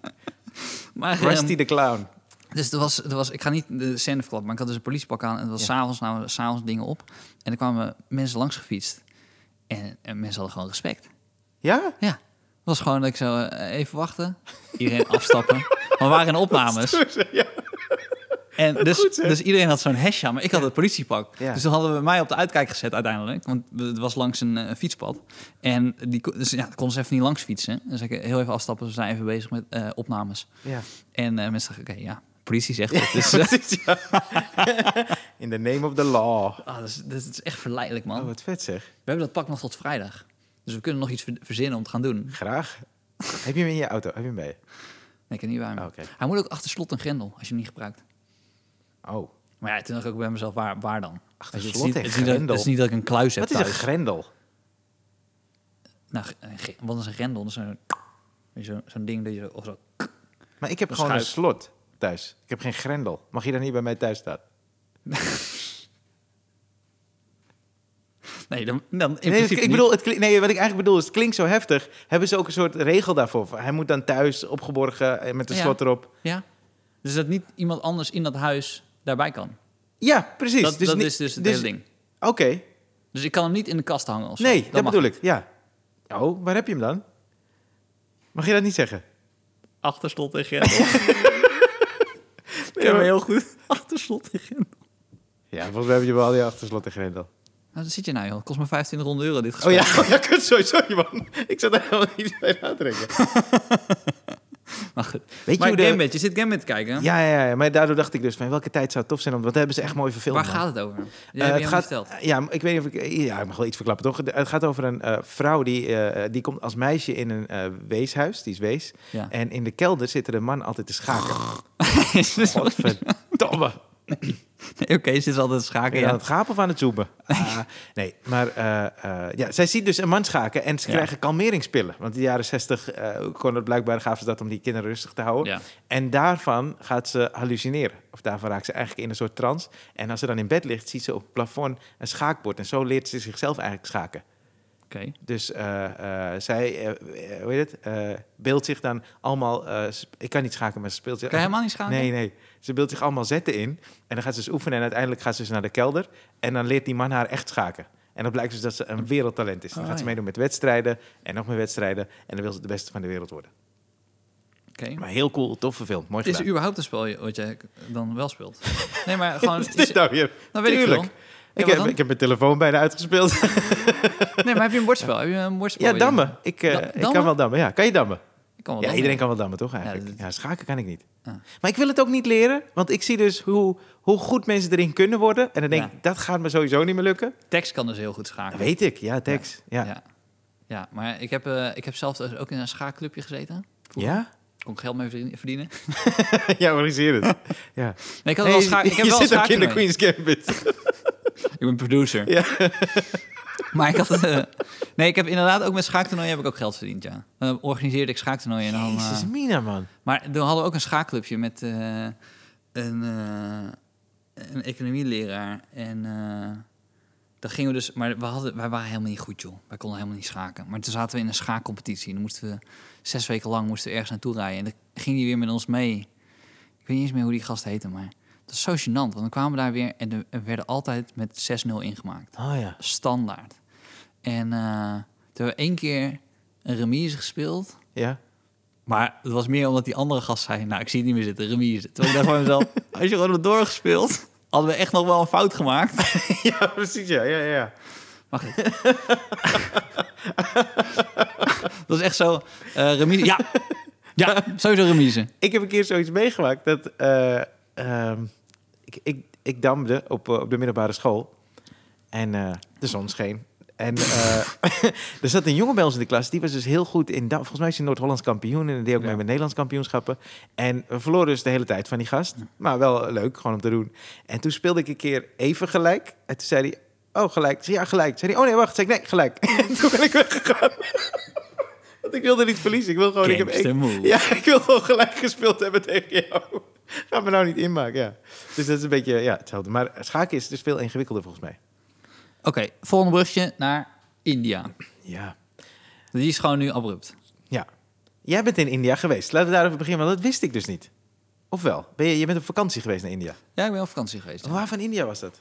B: Maar, ehm,
A: Rusty de clown.
B: Dus er was, er was, ik ga niet de scène verklappen, maar ik had dus een politiepak aan. En het was
A: Ja.
B: s'avonds, namen we s'avonds dingen op. En er kwamen mensen langs gefietst. En, en mensen hadden gewoon respect.
A: Ja?
B: Ja, het was gewoon dat ik zo eh, even wachten. Iedereen [LAUGHS] afstappen. Maar we waren in opnames.
A: ja.
B: En dus, dus iedereen had zo'n hesje aan, maar ik had het politiepak.
A: Ja.
B: Dus toen hadden we mij op de uitkijk gezet uiteindelijk. Want het was langs een eh, fietspad. En die, ko- dus, ja, kon ze even niet langs fietsen. Dus ik heel even afstappen. Ze zijn even bezig met eh, opnames.
A: ja.
B: En eh, mensen dachten, oké, ja, politie
A: [LAUGHS]
B: zegt het. Dus, eh,
A: Precies, ja. In the name of the law.
B: [LAUGHS] ah, dat, is, dat is echt verleidelijk, man.
A: Oh, wat vet zeg.
B: We hebben dat pak nog tot vrijdag. Dus we kunnen nog iets ver- verzinnen om te gaan doen. Nee,
A: Graag. Heb je hem in je auto? Heb je hem bij
B: ik heb niet waar. me.
A: Ah, oké.
B: Hij moet ook achter slot en grendel, als je hem niet gebruikt.
A: je? Oh.
B: Maar ja, toen dacht ik ook bij mezelf, waar, waar dan? Weet je, het is
A: slot
B: niet-
A: en
B: het is niet dat-
A: grendel.
B: Het is niet dat ik een kluis heb
A: Wat is een
B: thuis.
A: grendel?
B: Nou, ge- een ge- wat is een grendel? Dat is zo'n weet je, zo- zo'n ding dat je zo... of zo-
A: Maar ik heb
B: Een
A: gewoon een
B: schuif.
A: slot thuis. Ik heb geen grendel. Mag je dan niet bij mij thuis staan?
B: Nee, dan, dan in
A: Nee, het-
B: principe
A: ik bedoel, het klink- nee, wat ik eigenlijk bedoel is, het klinkt zo heftig. Hebben ze ook een soort regel daarvoor? Hij moet dan thuis opgeborgen eh, met een
B: Ja.
A: slot erop.
B: niet. Ja? Dus dat niet iemand anders in dat huis daarbij kan.
A: Ja, precies.
B: Dat,
A: Dus
B: dat
A: niet-
B: is dus het
A: dus-
B: hele ding.
A: Oké,
B: Dus ik kan hem niet in de kast hangen of zo.
A: nee, dat,
B: mag
A: bedoel ik. Ja. Oh, waar heb je hem dan? Mag je dat niet zeggen?
B: Achter slot en grendel. [LAUGHS] Ik ken me heel goed. Achter slot en grendel.
A: Ja, volgens mij heb je wel al die achterslot en grendel.
B: Nou, daar zit je nou, joh. Het kost me 2500 euro, dit
A: Oh
B: gesprek.
A: ja, [LAUGHS] oh, ja kut, sorry, sorry man. Ik zat daar helemaal niet bij na te denken.
B: Maar goed.
A: Weet je
B: maar
A: hoe de-
B: Gambit, je zit Gambit te kijken. hè?
A: Ja, ja, ja, maar daardoor dacht ik dus van welke tijd zou het tof zijn om... Want daar hebben ze echt mooi verfilmd.
B: Waar
A: man.
B: gaat het over?
A: Eh,
B: Jij hebt
A: het
B: het
A: gaat-
B: verteld.
A: Ja, maar ik weet niet of ik... eh, Ja, ik mag wel iets verklappen, toch? Het gaat over een eh, vrouw die, eh, die komt als meisje in een eh, weeshuis. Die is wees.
B: [LAUGHS] Ja.
A: En in de kelder zit er een man altijd te
B: [LAUGHS]
A: schaken. Godverdomme.
B: Oké, ze is altijd schaken.
A: Ben je aan het gapen of aan het
B: [LAUGHS]
A: zoemen? Ah, nee, maar eh, eh, ja, zij ziet dus een man schaken en ze
B: Ja.
A: krijgen kalmeringspillen. Want in de jaren zestig eh kon het blijkbaar, gaven ze dat om die kinderen rustig te houden.
B: Ja.
A: En daarvan gaat ze hallucineren. Of daarvan raakt ze eigenlijk in een soort trance. En als ze dan in bed ligt, ziet ze op het plafond een schaakbord. En zo leert ze zichzelf eigenlijk schaken.
B: Oké.
A: Dus eh, eh, zij, eh, eh, hoe heet het, Eh, beeldt zich dan allemaal... eh, sp- ik kan niet schaken, maar ze speelt zich...
B: Kan je helemaal niet schaken?
A: Nee, nee. Ze beeldt zich allemaal zetten in. En dan gaat ze dus oefenen. En uiteindelijk gaat ze dus naar de kelder. En dan leert die man haar echt schaken. En dan blijkt dus dat ze een wereldtalent is. Dan
B: Oh,
A: gaat ze
B: ja.
A: meedoen met wedstrijden. En nog meer wedstrijden. En dan wil ze de beste van de wereld worden.
B: Oké.
A: Maar heel cool, tof verfilmd. Mooi
B: Het is
A: gedaan.
B: überhaupt een spel je- wat jij dan wel speelt. Nee,
A: [LAUGHS]
B: maar gewoon...
A: Wat is dit nou weer?
B: Dan weet ik
A: Tuurlijk.
B: veel. Ja,
A: Ik
B: wat
A: heb,
B: dan?
A: ik heb mijn telefoon bijna uitgespeeld.
B: Nee, maar heb je een bordspel? Heb je een bordspel?
A: ja, dammen. Ik, eh,
B: Da-
A: ik
B: dammen?
A: kan wel dammen. Ja, kan je dammen?
B: Ik kan wel
A: Ja,
B: dammen.
A: iedereen kan wel dammen, toch eigenlijk? Ja,
B: Ja, dat-
A: schaken kan ik niet.
B: Ah.
A: Maar ik wil het ook niet leren, want ik zie dus hoe, hoe goed mensen erin kunnen worden. En dan denk
B: Ja.
A: ik, dat gaat me sowieso niet meer lukken.
B: Tex kan dus heel goed
A: Dat
B: schaken.
A: weet ik, ja, Tex. Ja. Ja?
B: Ja. Ja, maar ik heb, eh, ik heb zelf dus ook in een schaakclubje gezeten.
A: Ja,
B: Kon ik geld mee verdien- verdienen.
A: [LAUGHS]
B: Nee,
A: organiseer het. ja.
B: ik, had wel schaak, ik heb
A: [LAUGHS] je
B: wel
A: zit ook in
B: schaken
A: de
B: mee.
A: Queen's Gambit.
B: Ik ben producer.
A: Ja.
B: [LAUGHS] maar ik had... eh, nee, ik heb inderdaad ook met schaaktoernooien heb ik ook geld verdiend, ja. Dan organiseerde ik schaaktoernooien. En dan, eh,
A: Jezus, Mina, man.
B: Maar toen hadden we ook een schaakclubje met eh, een, eh, een economieleraar. En eh dan gingen we dus... Maar we hadden, wij waren helemaal niet goed, joh. Wij konden helemaal niet schaken. Maar toen zaten we in een schaakcompetitie. En dan moesten we zes weken lang moesten we ergens naartoe rijden. En dan ging die weer met ons mee. Ik weet niet eens meer hoe die gast heette, maar... Dat is zo gênant, want dan kwamen we daar weer... en er- er werden altijd met 6-0 ingemaakt
A: Oh ja.
B: standaard. En eh, toen hebben we één keer een remise gespeeld. [LAUGHS]
A: Ja,
B: Maar het was meer omdat die andere gast zei... nou, ik zie het niet meer zitten, remise. Toen ik dacht van mezelf, [LAUGHS] als je gewoon had doorgespeeld... hadden we echt nog wel een fout gemaakt. [LAUGHS]
A: ja precies, ja, ja, ja.
B: Maar goed. [LAUGHS] dat is echt zo, eh remise... Ja, ja sowieso remise.
A: Ik heb een keer zoiets meegemaakt dat eh, ehm, ik, ik, ik damde op, eh, op de middelbare school en eh, de zon scheen. En eh, [LAUGHS] er zat een jongen bij ons in de klas, die was dus heel goed in dam. Volgens mij is hij Noord-Hollands kampioen en hij deed ook
B: Ja.
A: mee met Nederlands kampioenschappen. En we verloren dus de hele tijd van die gast, maar wel leuk, gewoon om te doen. En toen speelde ik een keer even gelijk en toen zei hij, oh gelijk. Ik Zei, ja gelijk. Zei hij, oh nee wacht. Zei ik, nee gelijk. [LAUGHS] En toen ben ik weggegaan. [LAUGHS] Want ik wilde niet verliezen, ik wil gewoon... Ik heb, ik,
B: Gangster move.
A: ja, ik wil gewoon gelijk gespeeld hebben tegen jou. Ga me nou niet inmaken, ja. Dus dat is een beetje ja, hetzelfde. Maar schaken is dus veel ingewikkelder volgens mij.
B: Oké, volgende brugje naar India.
A: Ja.
B: Die is gewoon nu abrupt.
A: ja. Jij bent in India geweest. Laten we daarover beginnen, want dat wist ik dus niet. Of wel? Ben je, je bent op vakantie geweest naar India.
B: Ja, ik ben op vakantie geweest. Eh,
A: Waar van India was dat?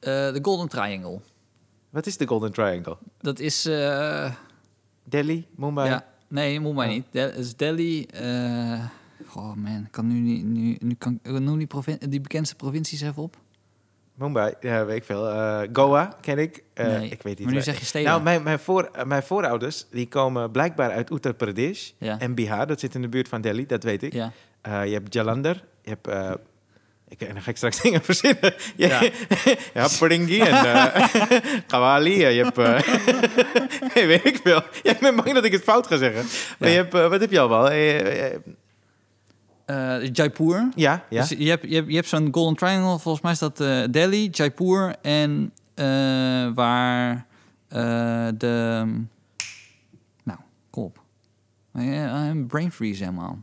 B: De Golden Triangle.
A: Wat is de Golden Triangle?
B: Dat is... eh,
A: Delhi, Mumbai?
B: Ja, nee, moet mij
A: Oh.
B: niet. Dat is Delhi. eh, oh man, ik kan nu niet. Nu, nu kan, ik- noem die, provin- die bekendste provincies even op.
A: Mumbai, ja, weet ik veel. Eh, Goa ken ik. Eh,
B: Nee,
A: ik weet niet
B: maar nu
A: waar-
B: zeg je steden.
A: Nou, mijn, mijn, voor, eh, mijn voorouders die komen blijkbaar uit Uttar Pradesh
B: Ja.
A: en Bihar. Dat zit in de buurt van Delhi, dat weet ik.
B: Ja.
A: Eh, je hebt Jalandhar je hebt... eh, ik, en dan ga ik straks dingen verzinnen. [LAUGHS] Je,
B: Ja.
A: je hebt Pringi en eh [LAUGHS] Kawali. en Je hebt... eh, [LAUGHS] nee, weet ik veel. Jij bent bang dat ik het fout ga zeggen. Maar
B: Ja.
A: je hebt, eh, wat heb je allemaal? Eh, eh,
B: Eh, Jaipur.
A: ja, ja.
B: Dus je hebt, je hebt, je hebt zo'n Golden Triangle, volgens mij is dat eh, Delhi, Jaipur en eh, waar eh, de... Nou, kom op. Eh, Een brain freeze helemaal.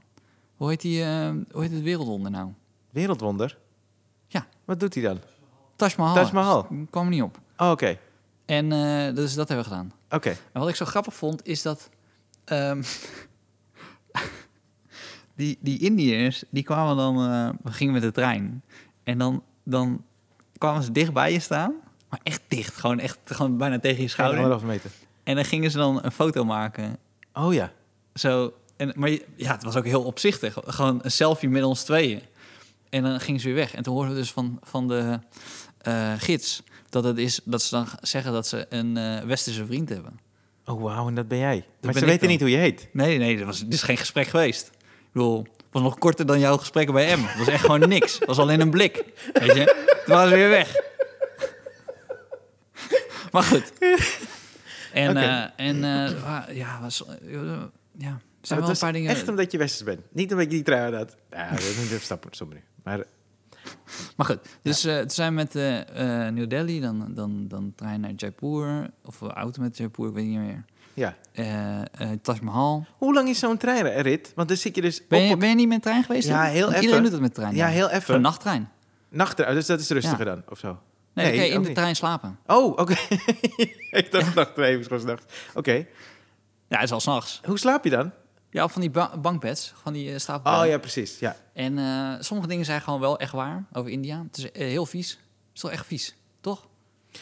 B: Hoe heet, die, eh, hoe heet het wereldwonder nou?
A: Wereldwonder?
B: Ja.
A: Wat doet hij dan?
B: Taj Mahal.
A: Taj Mahal.
B: Dus ik kwam er niet op.
A: Oh, oké.
B: En eh, dus dat hebben we gedaan.
A: Oké.
B: En wat ik zo grappig vond, is dat... ehm, [LAUGHS] die, die Indiërs, die kwamen dan... eh, we gingen met de trein. En dan, dan kwamen ze dicht bij je staan. Maar echt dicht. Gewoon, echt, gewoon bijna tegen je
A: Geen
B: schouder.
A: anderhalve meter.
B: En dan gingen ze dan een foto maken.
A: Oh ja.
B: Zo, en, maar je- ja, het was ook heel opzichtig. Gewoon een selfie met ons tweeën. En dan gingen ze weer weg. En toen hoorden we dus van, van de eh, gids... Dat, het is, dat ze dan zeggen dat ze een eh, westerse vriend hebben.
A: Oh wauw, en dat ben jij. maar
B: ben
A: ze
B: ik
A: weten
B: dan.
A: niet hoe je heet.
B: Nee, nee, dat was, dit is geen gesprek geweest. Ik bedoel, het was nog korter dan jouw gesprekken bij M. Het was echt gewoon niks. Het was alleen een blik. Weet je? Toen waren ze weer weg. Maar goed. En,
A: Oké.
B: eh, en eh, wa- ja, was, ja, er zijn
A: Nou,
B: wel
A: het
B: een
A: is
B: paar dingen.
A: Echt omdat je westers bent. Niet omdat je die trui aan had. Ja, dat is een stap soms nu. Maar
B: Maar goed, dus eh, toen zijn we met eh, eh, New Delhi, dan, dan, dan trein naar Jaipur. Of eh, auto met Jaipur, ik weet niet meer.
A: ja.
B: Eh eh, Taj Mahal.
A: Hoe lang is zo'n treinrit? Want dan zit je dus
B: Ben je,
A: op...
B: ben je niet met trein geweest?
A: Ja,
B: dan?
A: heel
B: Want
A: even.
B: Iedereen doet het met trein.
A: Ja, heel
B: Een
A: even.
B: nachttrein.
A: Nachttrui, dus dat is rustiger
B: Ja.
A: dan, of zo?
B: Nee, dan kan je
A: ook
B: in de
A: niet.
B: trein slapen.
A: Oh, oké. [LAUGHS] ik dacht nachttrein, was gewoon 's nachts. Oké.
B: Ja, het is al s'nachts.
A: Hoe slaap je dan?
B: Ja, op van die ba- bankbeds, van die eh, stapelbedden.
A: Oh ja, precies. Ja.
B: En eh, sommige dingen zijn gewoon wel echt waar over India. Het is eh, heel vies. Het is toch echt vies, toch?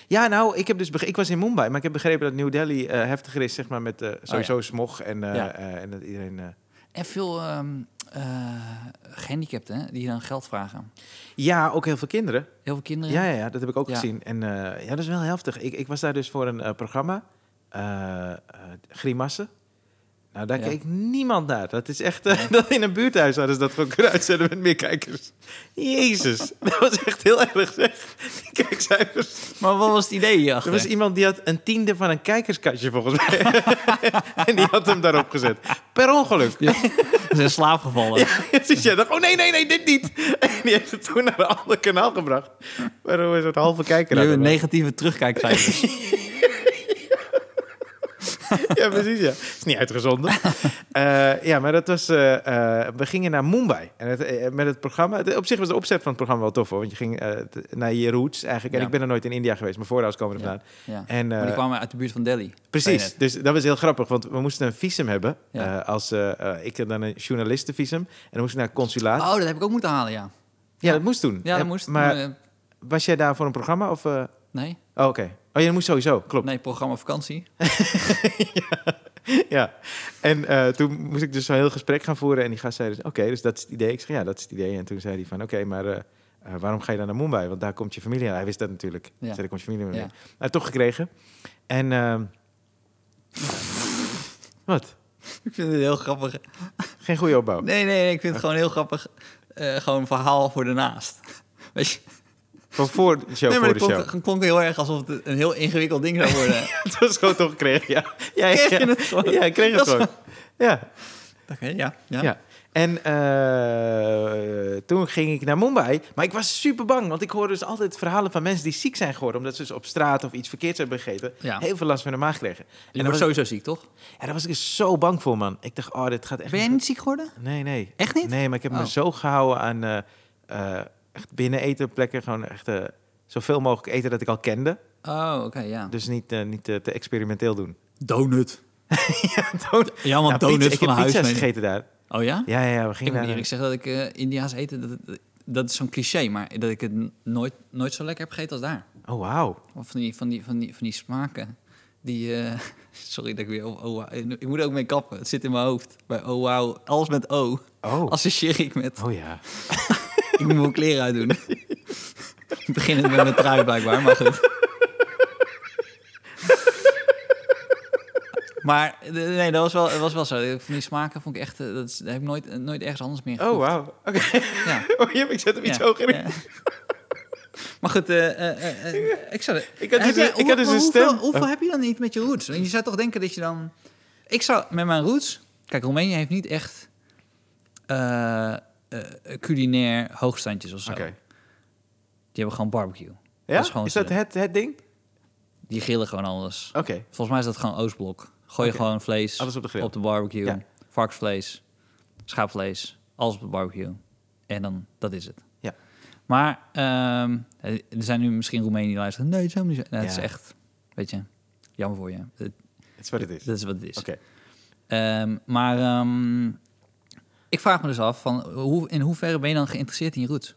A: Ja, nou, ik, heb dus bege- ik was in Mumbai, maar ik heb begrepen dat New Delhi eh, heftiger is, zeg maar, met eh, sowieso smog en, eh,
B: Oh, Ja.
A: eh, en dat iedereen... eh,
B: En veel ehm, eh, gehandicapten hè, die dan geld vragen.
A: Ja, ook heel veel kinderen.
B: Heel veel kinderen.
A: Ja, ja, ja, dat heb ik ook
B: Ja.
A: gezien. En eh, ja, dat is wel heftig. Ik, ik was daar dus voor een eh, programma, eh eh, Grimassen. Nou, daar
B: Ja.
A: keek niemand naar. Dat is echt... eh, [LAUGHS] dat in een buurthuis hadden ze dat gewoon kunnen uitzenden met meer kijkers.
B: [LAUGHS]
A: Jezus, dat was echt heel erg, zeg. Die kijkcijfers.
B: Maar wat was het idee
A: Er
B: hierachter?
A: was iemand die had een tiende van een kijkerskastje, volgens
B: [LAUGHS]
A: mij. en die had hem daarop gezet. Per ongeluk.
B: Ja. Ze zijn in slaap gevallen.
A: [LAUGHS] Dus jij dacht, oh nee, nee, nee, dit niet. [LAUGHS] En die heeft het toen naar een ander kanaal gebracht. Maar hoe is het halve kijker?
B: Je hebt
A: hadden.
B: een negatieve terugkijkcijfers.
A: [LAUGHS] Ja, precies, ja. Is niet
B: [LAUGHS]
A: uitgezonden. Eh, ja, maar dat was... eh, eh, we gingen naar Mumbai. En het, eh, met het programma... het- op zich was de opzet van het programma wel tof, hoor. Want je ging eh, t- naar je roots, eigenlijk. En
B: Ja.
A: ik ben er nooit in India geweest. Mijn voorouders komen er
B: Ja.
A: vandaan.
B: ja.
A: En,
B: maar die
A: eh,
B: kwamen uit de buurt van Delhi. Zei je
A: Precies, dus dat was heel grappig, want we moesten een visum hebben.
B: Ja.
A: eh, als, eh, eh, ik had dan een journalistenvisum en dan moest ik naar het consulaat.
B: net. Oh, dat heb ik ook moeten halen, ja.
A: ja, dat moest toen.
B: Ja,
A: Eh,
B: dat moest.
A: Maar
B: eh,
A: was jij daar voor een programma? Of, eh,
B: nee,
A: Oh, oké. Oh, ja, dat moest sowieso, klopt.
B: nee, programma vakantie.
A: ja. En eh, toen moest ik dus zo'n heel gesprek gaan voeren en die gast zei dus, oké, dus dat is het idee. Ik zei, ja, dat is het idee. En toen zei hij van, oké, maar eh, eh, waarom ga je dan naar Mumbai? Want daar komt je familie aan. Hij wist dat natuurlijk. Hij zei, daar komt je familie mee.
B: Ja.
A: Hij heeft toch gekregen. En... ehm, Wat?
B: [LAUGHS] Ik vind het heel grappig.
A: Geen goede opbouw.
B: Nee, nee, nee, ik vind het gewoon heel grappig. eh, gewoon een verhaal voor daarnaast. [LAUGHS] Weet je?
A: Van voor de show,
B: nee, maar
A: voor
B: het
A: de
B: klonk,
A: show.
B: het klonk heel erg alsof het een heel ingewikkeld ding zou [LAUGHS] worden.
A: Het was gewoon toch gekregen, ja. Ja, ja,
B: Kreeg
A: ja.
B: je het gewoon?
A: Ja, ik kreeg het
B: Dat is-
A: gewoon. Ja,
B: Oké, ja, ja.
A: ja. En eh, toen ging ik naar Mumbai. Maar ik was super bang, want ik hoorde dus altijd verhalen van mensen die ziek zijn geworden. Omdat ze dus op straat of iets verkeerds hebben gegeten.
B: Ja.
A: Heel veel last van de maag kregen.
B: Je
A: En daar
B: wordt
A: was,
B: sowieso ziek, toch?
A: ja, daar was ik dus zo bang voor, man. Ik dacht, oh, dit gaat echt...
B: Ben jij niet ziek geworden?
A: Nee, nee.
B: Echt niet?
A: Nee, maar ik heb me
B: Oh.
A: zo gehouden aan eh, eh, echt binnen eten plekken. Gewoon echt eh, zoveel mogelijk eten dat ik al kende.
B: Oh, oké, ja.
A: Dus niet, eh, niet eh, te experimenteel doen. [LAUGHS]
B: Donut.
A: Toen-
B: Ja, want
A: Ja, pizza-
B: donut van
A: ik heb
B: huis.
A: pizza's
B: meen ik.
A: gegeten daar.
B: Oh ja?
A: Ja, ja, ja we
B: Ik
A: gingen
B: moet
A: naar...
B: eerlijk zeggen dat ik eh, Indiaas eten, dat, dat, dat is zo'n cliché, maar dat ik het n- nooit, nooit zo lekker heb gegeten als daar.
A: Oh, wauw.
B: Of van die, van die, van die, van die smaken. Die, eh, [LAUGHS] sorry dat ik weer... Oh, oh, wauw. ik moet er ook mee kappen. Het zit in mijn hoofd. Bij oh, wauw. Alles met O.
A: Oh.
B: Associeer ik met... [LAUGHS]
A: oh, ja.
B: Ik moet mijn kleren uitdoen. [LAUGHS] Ik begin het met mijn trui blijkbaar, maar goed. [LAUGHS] Maar eh, nee, dat was wel, dat was wel zo. Van die smaken vond ik echt... eh, Dat is- dat heb ik nooit, nooit ergens anders meer
A: Oh, wauw. Oké. [LAUGHS]
B: Ja.
A: Oh, jep, ik zet hem [LAUGHS] iets
B: Ja,
A: hoger in.
B: ja. [LAUGHS] Maar goed, eh, eh, eh, eh, ik zou...
A: Ik had dus,
B: Heb jij-
A: een- ik had dus
B: maar
A: een
B: hoeveel,
A: stem.
B: Hoeveel heb je dan niet met je roots? Want je zou toch denken dat je dan... Ik zou met mijn roots... Kijk, Roemenië heeft niet echt eh, eh, culinair hoogstandjes of zo.
A: Oké.
B: Die hebben gewoon barbecue.
A: Ja?
B: Dat is gewoon
A: is dat Oh,
B: zo.
A: het, het ding?
B: Die grillen gewoon alles.
A: Oké.
B: Volgens mij is dat gewoon Oostblok. Gooi je
A: Oké.
B: gewoon vlees
A: Alles op de grill.
B: barbecue.
A: Ja.
B: Varkensvlees, schaapvlees, alles op de barbecue. En dan, dat is het.
A: Ja.
B: Maar ehm, er zijn nu misschien Roemenen die luisteren. Nee, het is helemaal niet zo. Nou, het
A: Ja.
B: is echt, weet je, jammer voor je. Dat,
A: Dat is wat het is. Oké.
B: dat is wat het is. Ehm, maar ehm, ik vraag me dus af, van, hoe, in hoeverre ben je dan geïnteresseerd in je roots?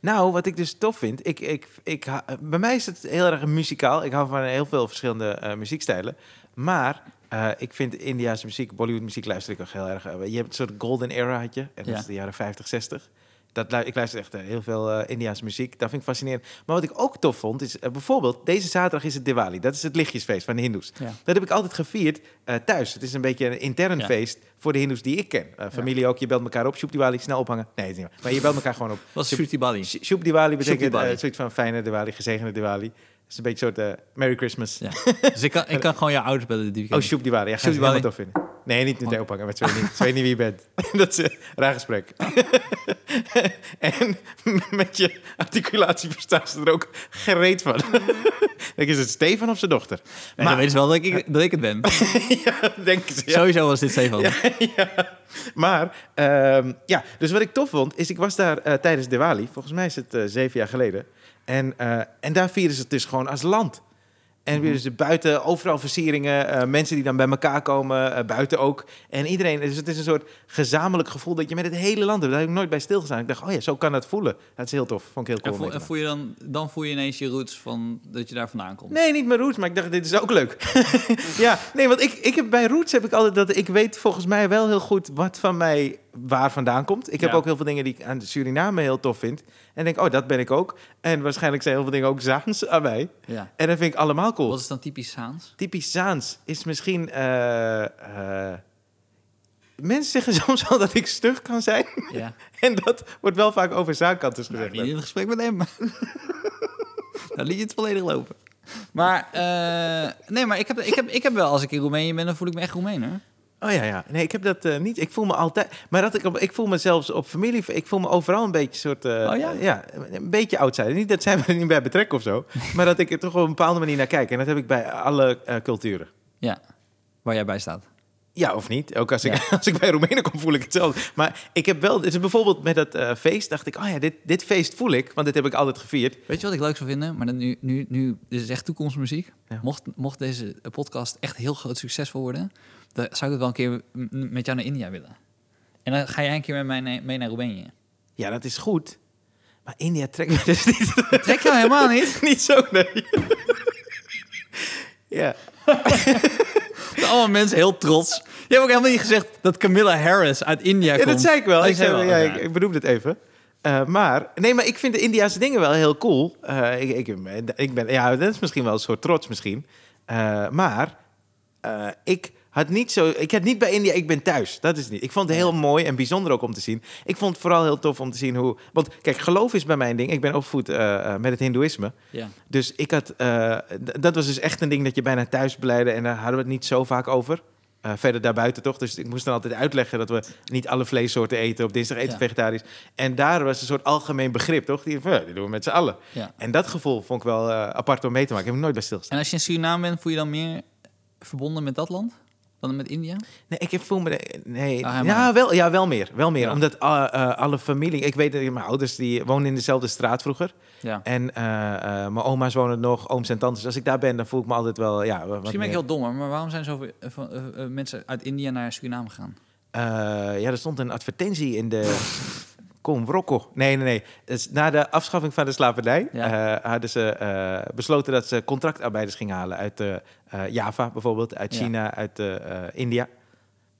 A: Nou, wat ik dus tof vind, ik, ik, ik, ha- bij mij is het heel erg muzikaal. Ik hou van heel veel verschillende eh, muziekstijlen. Maar eh, ik vind Indiaanse muziek, Bollywood muziek luister ik ook heel erg. eh, je hebt een soort golden era had je, en dat
B: Ja.
A: is de jaren 50, 60. Dat, lu- ik luister echt eh, heel veel eh, Indiaanse muziek. Dat vind ik fascinerend. Maar wat ik ook tof vond, is eh, bijvoorbeeld... deze zaterdag is het Diwali. Dat is het lichtjesfeest van de hindoes.
B: Ja.
A: Dat heb ik altijd gevierd eh, thuis. Het is een beetje een intern
B: Ja.
A: feest voor de hindoes die ik ken. Eh, familie ook, je belt elkaar op. Sjoep Diwali, snel ophangen. Nee, dat is niet waar. Maar je belt elkaar gewoon op.
B: Was
A: Sjoep-
B: Shruti
A: [LAUGHS]
B: Bali.
A: Sh- Shub Diwali betekent
B: Diwali.
A: eh, zoiets van fijne Diwali, gezegende Diwali. Het is een beetje een soort eh, Merry Christmas.
B: Ja. dus ik kan, ik kan gewoon je ouders bellen dit
A: Oh,
B: weekend.
A: Shub Diwali. Ja, ga
B: Shub
A: je helemaal
B: Diwali.
A: tof vinden. Nee, niet meteen ophangen, maar twee niet. Twee niet wie je bent. [LAUGHS] Dat is een raar gesprek. [LAUGHS] en met je articulatie verstaan ze er ook gereed van. [LAUGHS] Dan is het Stefan of zijn dochter?
B: maar
A: maar-
B: dan weten ze wel dat ik, dat ik het ben.
A: ja, denken ze. [LAUGHS] ja.
B: Sowieso was dit Stefan.
A: [LAUGHS] ja. Maar, ehm, ja, dus wat ik tof vond, is ik was daar eh, tijdens Diwali. Volgens mij is het eh, zeven jaar geleden. En, eh, en daar vieren ze het dus gewoon als land. En weer dus de buiten, overal versieringen. eh, mensen die dan bij elkaar komen, eh, buiten ook. En iedereen, dus het is een soort gezamenlijk gevoel dat je met het hele land hebt. Daar heb ik nooit bij stilgestaan. Ik dacht, oh ja, zo kan dat voelen. Dat is heel tof. Vond ik heel cool.
B: En,
A: om
B: voel, eh,
A: mee te
B: en voel je dan, dan voel je ineens je roots van dat je daar vandaan komt.
A: Nee, niet mijn roots, maar ik dacht, dit is ook leuk. [LAUGHS] ja, nee, want ik, ik heb bij roots heb ik altijd dat ik weet volgens mij wel heel goed wat van mij waar vandaan komt. Ik heb
B: Ja.
A: ook heel veel dingen die ik aan Suriname heel tof vind. En denk, oh, dat ben ik ook. En waarschijnlijk zijn heel veel dingen ook Zaans aan mij.
B: Ja.
A: En dat vind ik allemaal cool.
B: Wat is dan typisch
A: [LAUGHS]
B: Saans?
A: Typisch Zaans is misschien. eh, eh, mensen zeggen [LAUGHS] soms al dat ik stug kan zijn. [LAUGHS]
B: Ja.
A: En dat wordt wel vaak over zaankanters gezegd.
B: Nou, Niet in het gesprek met hem. [LAUGHS] dan liet je het volledig lopen. Maar, eh, nee, maar ik heb, ik, heb, ik heb wel, als ik in Roemenië ben, dan voel ik me echt Roemeen, hoor.
A: Oh ja, ja. Nee, ik heb dat eh, niet. Ik voel me altijd. Maar dat ik, op, ik voel me zelfs op familie. Ik voel me overal een beetje soort. eh,
B: Oh ja?
A: eh, een beetje outsider. Niet dat zij [LAUGHS] me er niet bij betrekken of zo. maar dat ik er toch op een bepaalde manier naar kijk. En dat heb ik bij alle eh, culturen.
B: Ja, waar jij bij staat.
A: Ja, of niet. Ook als ik, [LAUGHS] als ik bij Roemenen kom, voel ik hetzelfde. Maar ik heb wel... Dus bijvoorbeeld met dat eh, feest dacht ik... Oh ja, dit, dit feest voel ik. Want dit heb ik altijd gevierd.
B: Weet je wat ik leuk zou vinden? Maar dan nu, nu, nu dit is echt toekomstmuziek.
A: Ja.
B: Mocht, mocht deze podcast echt heel groot succesvol worden, dan zou ik het wel een keer m- met jou naar India willen. En dan ga jij een keer met mij na- mee naar
A: [LAUGHS]
B: Roemenië.
A: Ja, dat is goed. Maar India trekt me [LAUGHS] dus niet,
B: Trek jou helemaal niet.
A: niet zo, nee. [LAUGHS] ja.
B: Allemaal mensen heel trots. Je hebt ook helemaal niet gezegd dat Camilla Harris uit India
A: Ja,
B: komt.
A: dat zei ik wel.
B: Oh, je
A: Ik, zei,
B: wel,
A: ja,
B: oké.
A: ik, ik bedoel het even. Eh, maar, nee, maar ik vind de Indiaanse dingen wel heel cool. Eh, ik, ik, ik ben, ja, dat is misschien wel een soort trots misschien. Eh, maar eh, ik had niet zo, ik had niet bij India, ik ben thuis. Dat is het niet. Ik vond het heel mooi en bijzonder ook om te zien. Ik vond het vooral heel tof om te zien hoe, want kijk, geloof is bij mijn ding. Ik ben opgevoed eh, eh, met het hindoeïsme.
B: Ja.
A: Dus ik had, eh, d- dat was dus echt een ding dat je bijna thuis beleidde. En daar hadden we het niet zo vaak over. Eh, verder daarbuiten toch. Dus ik moest dan altijd uitleggen dat we niet alle vleessoorten eten. Op dinsdag eten
B: Ja.
A: vegetarisch. En daar was een soort algemeen begrip, toch? Die, van, ja, dit doen we met z'n allen.
B: Ja.
A: En dat gevoel vond ik wel eh, apart om mee te maken. Ik heb er nooit bij stilgestaan.
B: En als je in Suriname bent, voel je dan meer verbonden met dat land dan met India?
A: Nee, ik heb voel me... Nee,
B: Ah, helemaal
A: ja, wel, ja, wel meer. Wel meer.
B: Ja.
A: Omdat eh, eh, alle familie... Ik weet dat mijn ouders die woonden in dezelfde straat vroeger.
B: Ja.
A: En eh, eh, mijn oma's wonen nog, ooms en tantes. Als ik daar ben, dan voel ik me altijd wel... Ja, wat
B: Misschien ben ik
A: meer-
B: heel dom, maar waarom zijn zoveel eh, van, eh, eh, mensen uit India naar Suriname gegaan?
A: Eh, ja, er stond een advertentie in de. Kom, Rokko. Nee, nee, nee. Dus na de afschaffing van de slavernij
B: Ja.
A: eh, hadden ze eh, besloten dat ze contractarbeiders gingen halen uit eh, eh, Java bijvoorbeeld, uit
B: Ja.
A: China, uit eh, eh, India.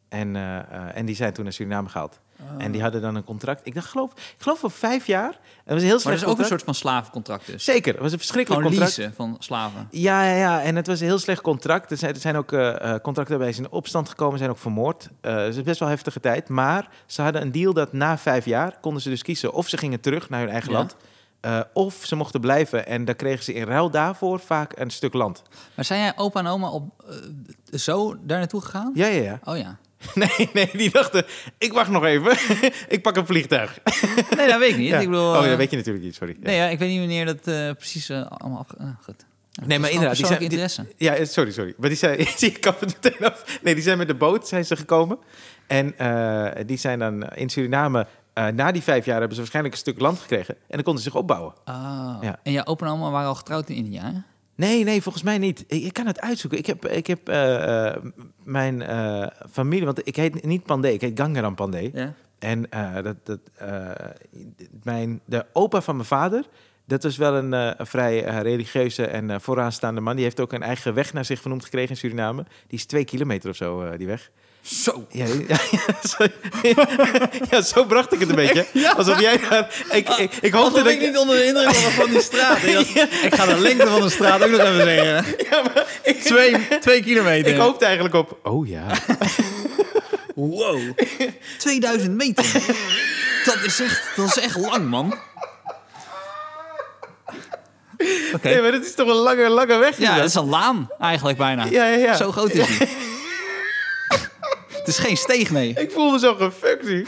A: En, eh, eh, en die zijn toen naar Suriname gehaald. En
B: Oh.
A: die hadden dan een contract. Ik dacht, geloof, ik geloof voor vijf jaar. Het was een heel
B: Maar
A: slecht
B: dat is ook een
A: contract.
B: soort van slavencontract dus.
A: Zeker, het was een verschrikkelijk
B: Gewoon
A: contract.
B: leasen van slaven.
A: Ja, ja, ja, en het was een heel slecht contract. Er zijn, er zijn ook eh eh, contractarbeiders in opstand gekomen, zijn ook vermoord. Eh, dus het is best wel een heftige tijd. Maar ze hadden een deal dat na vijf jaar konden ze dus kiezen of ze gingen terug naar hun eigen
B: Ja.
A: land. eh, of ze mochten blijven. En dan kregen ze in ruil daarvoor vaak een stuk land.
B: Maar zijn jij opa en oma op, eh, zo daar naartoe gegaan?
A: Ja, ja, [LAUGHS] ja.
B: Oh ja.
A: Nee, nee, die dachten, ik wacht nog even. [LAUGHS] ik pak een vliegtuig.
B: Nee, dat weet ik niet.
A: Ja.
B: Ik bedoel,
A: oh,
B: eh,
A: ja, weet je natuurlijk niet, sorry. Ja.
B: Nee, ja, ik weet niet wanneer dat eh, precies eh, allemaal af... eh, goed.
A: maar inderdaad, die
B: Die
A: zijn-
B: zijn
A: die-
B: interesse.
A: Ja, eh, sorry, sorry. Maar [LAUGHS] die zijn, ik kap het meteen af. Nee, die zijn met de boot zijn ze gekomen. En eh, die zijn dan in Suriname, eh, na die vijf jaar, hebben ze waarschijnlijk een stuk land gekregen. En dan konden ze zich opbouwen.
B: Oh.
A: Ja.
B: En jouw opa en oma waren al getrouwd in India, hè?
A: Nee, nee, volgens mij niet. Ik, ik kan het uitzoeken. Ik heb, ik heb eh, eh, mijn eh, familie, want ik heet niet Pandé, ik heet Gangaram Pandé.
B: Ja.
A: En eh, dat, dat, eh, mijn, de opa van mijn vader, dat was wel een, eh, een vrij eh, religieuze en eh, vooraanstaande man. Die heeft ook een eigen weg naar zich vernoemd gekregen in Suriname. Die is twee kilometer of zo, eh, die weg.
B: Zo.
A: Ja, [LAUGHS] ja, ja, zo, [LAUGHS] ja, zo bracht ik het een beetje. Alsof jij daar... Ik, ik, ik hoopte
B: Alsof
A: dat [LAUGHS]
B: ik niet onder de indruk was van die straat. Ik, dacht, ik ga de lengte van de straat ook nog even zeggen. twee, twee kilometer.
A: ik hoopte eigenlijk op... Oh ja.
B: Wow. 2000 meter. Dat is echt, dat is echt lang, man. Oké.
A: Nee, maar dat is toch een lange, lange weg.
B: Ja, dat
A: inderdaad.
B: is een laan eigenlijk bijna.
A: Ja, ja, ja.
B: Zo groot is die. Het is geen steeg, nee.
A: Ik voel me zo gefuckt [LAUGHS] nu.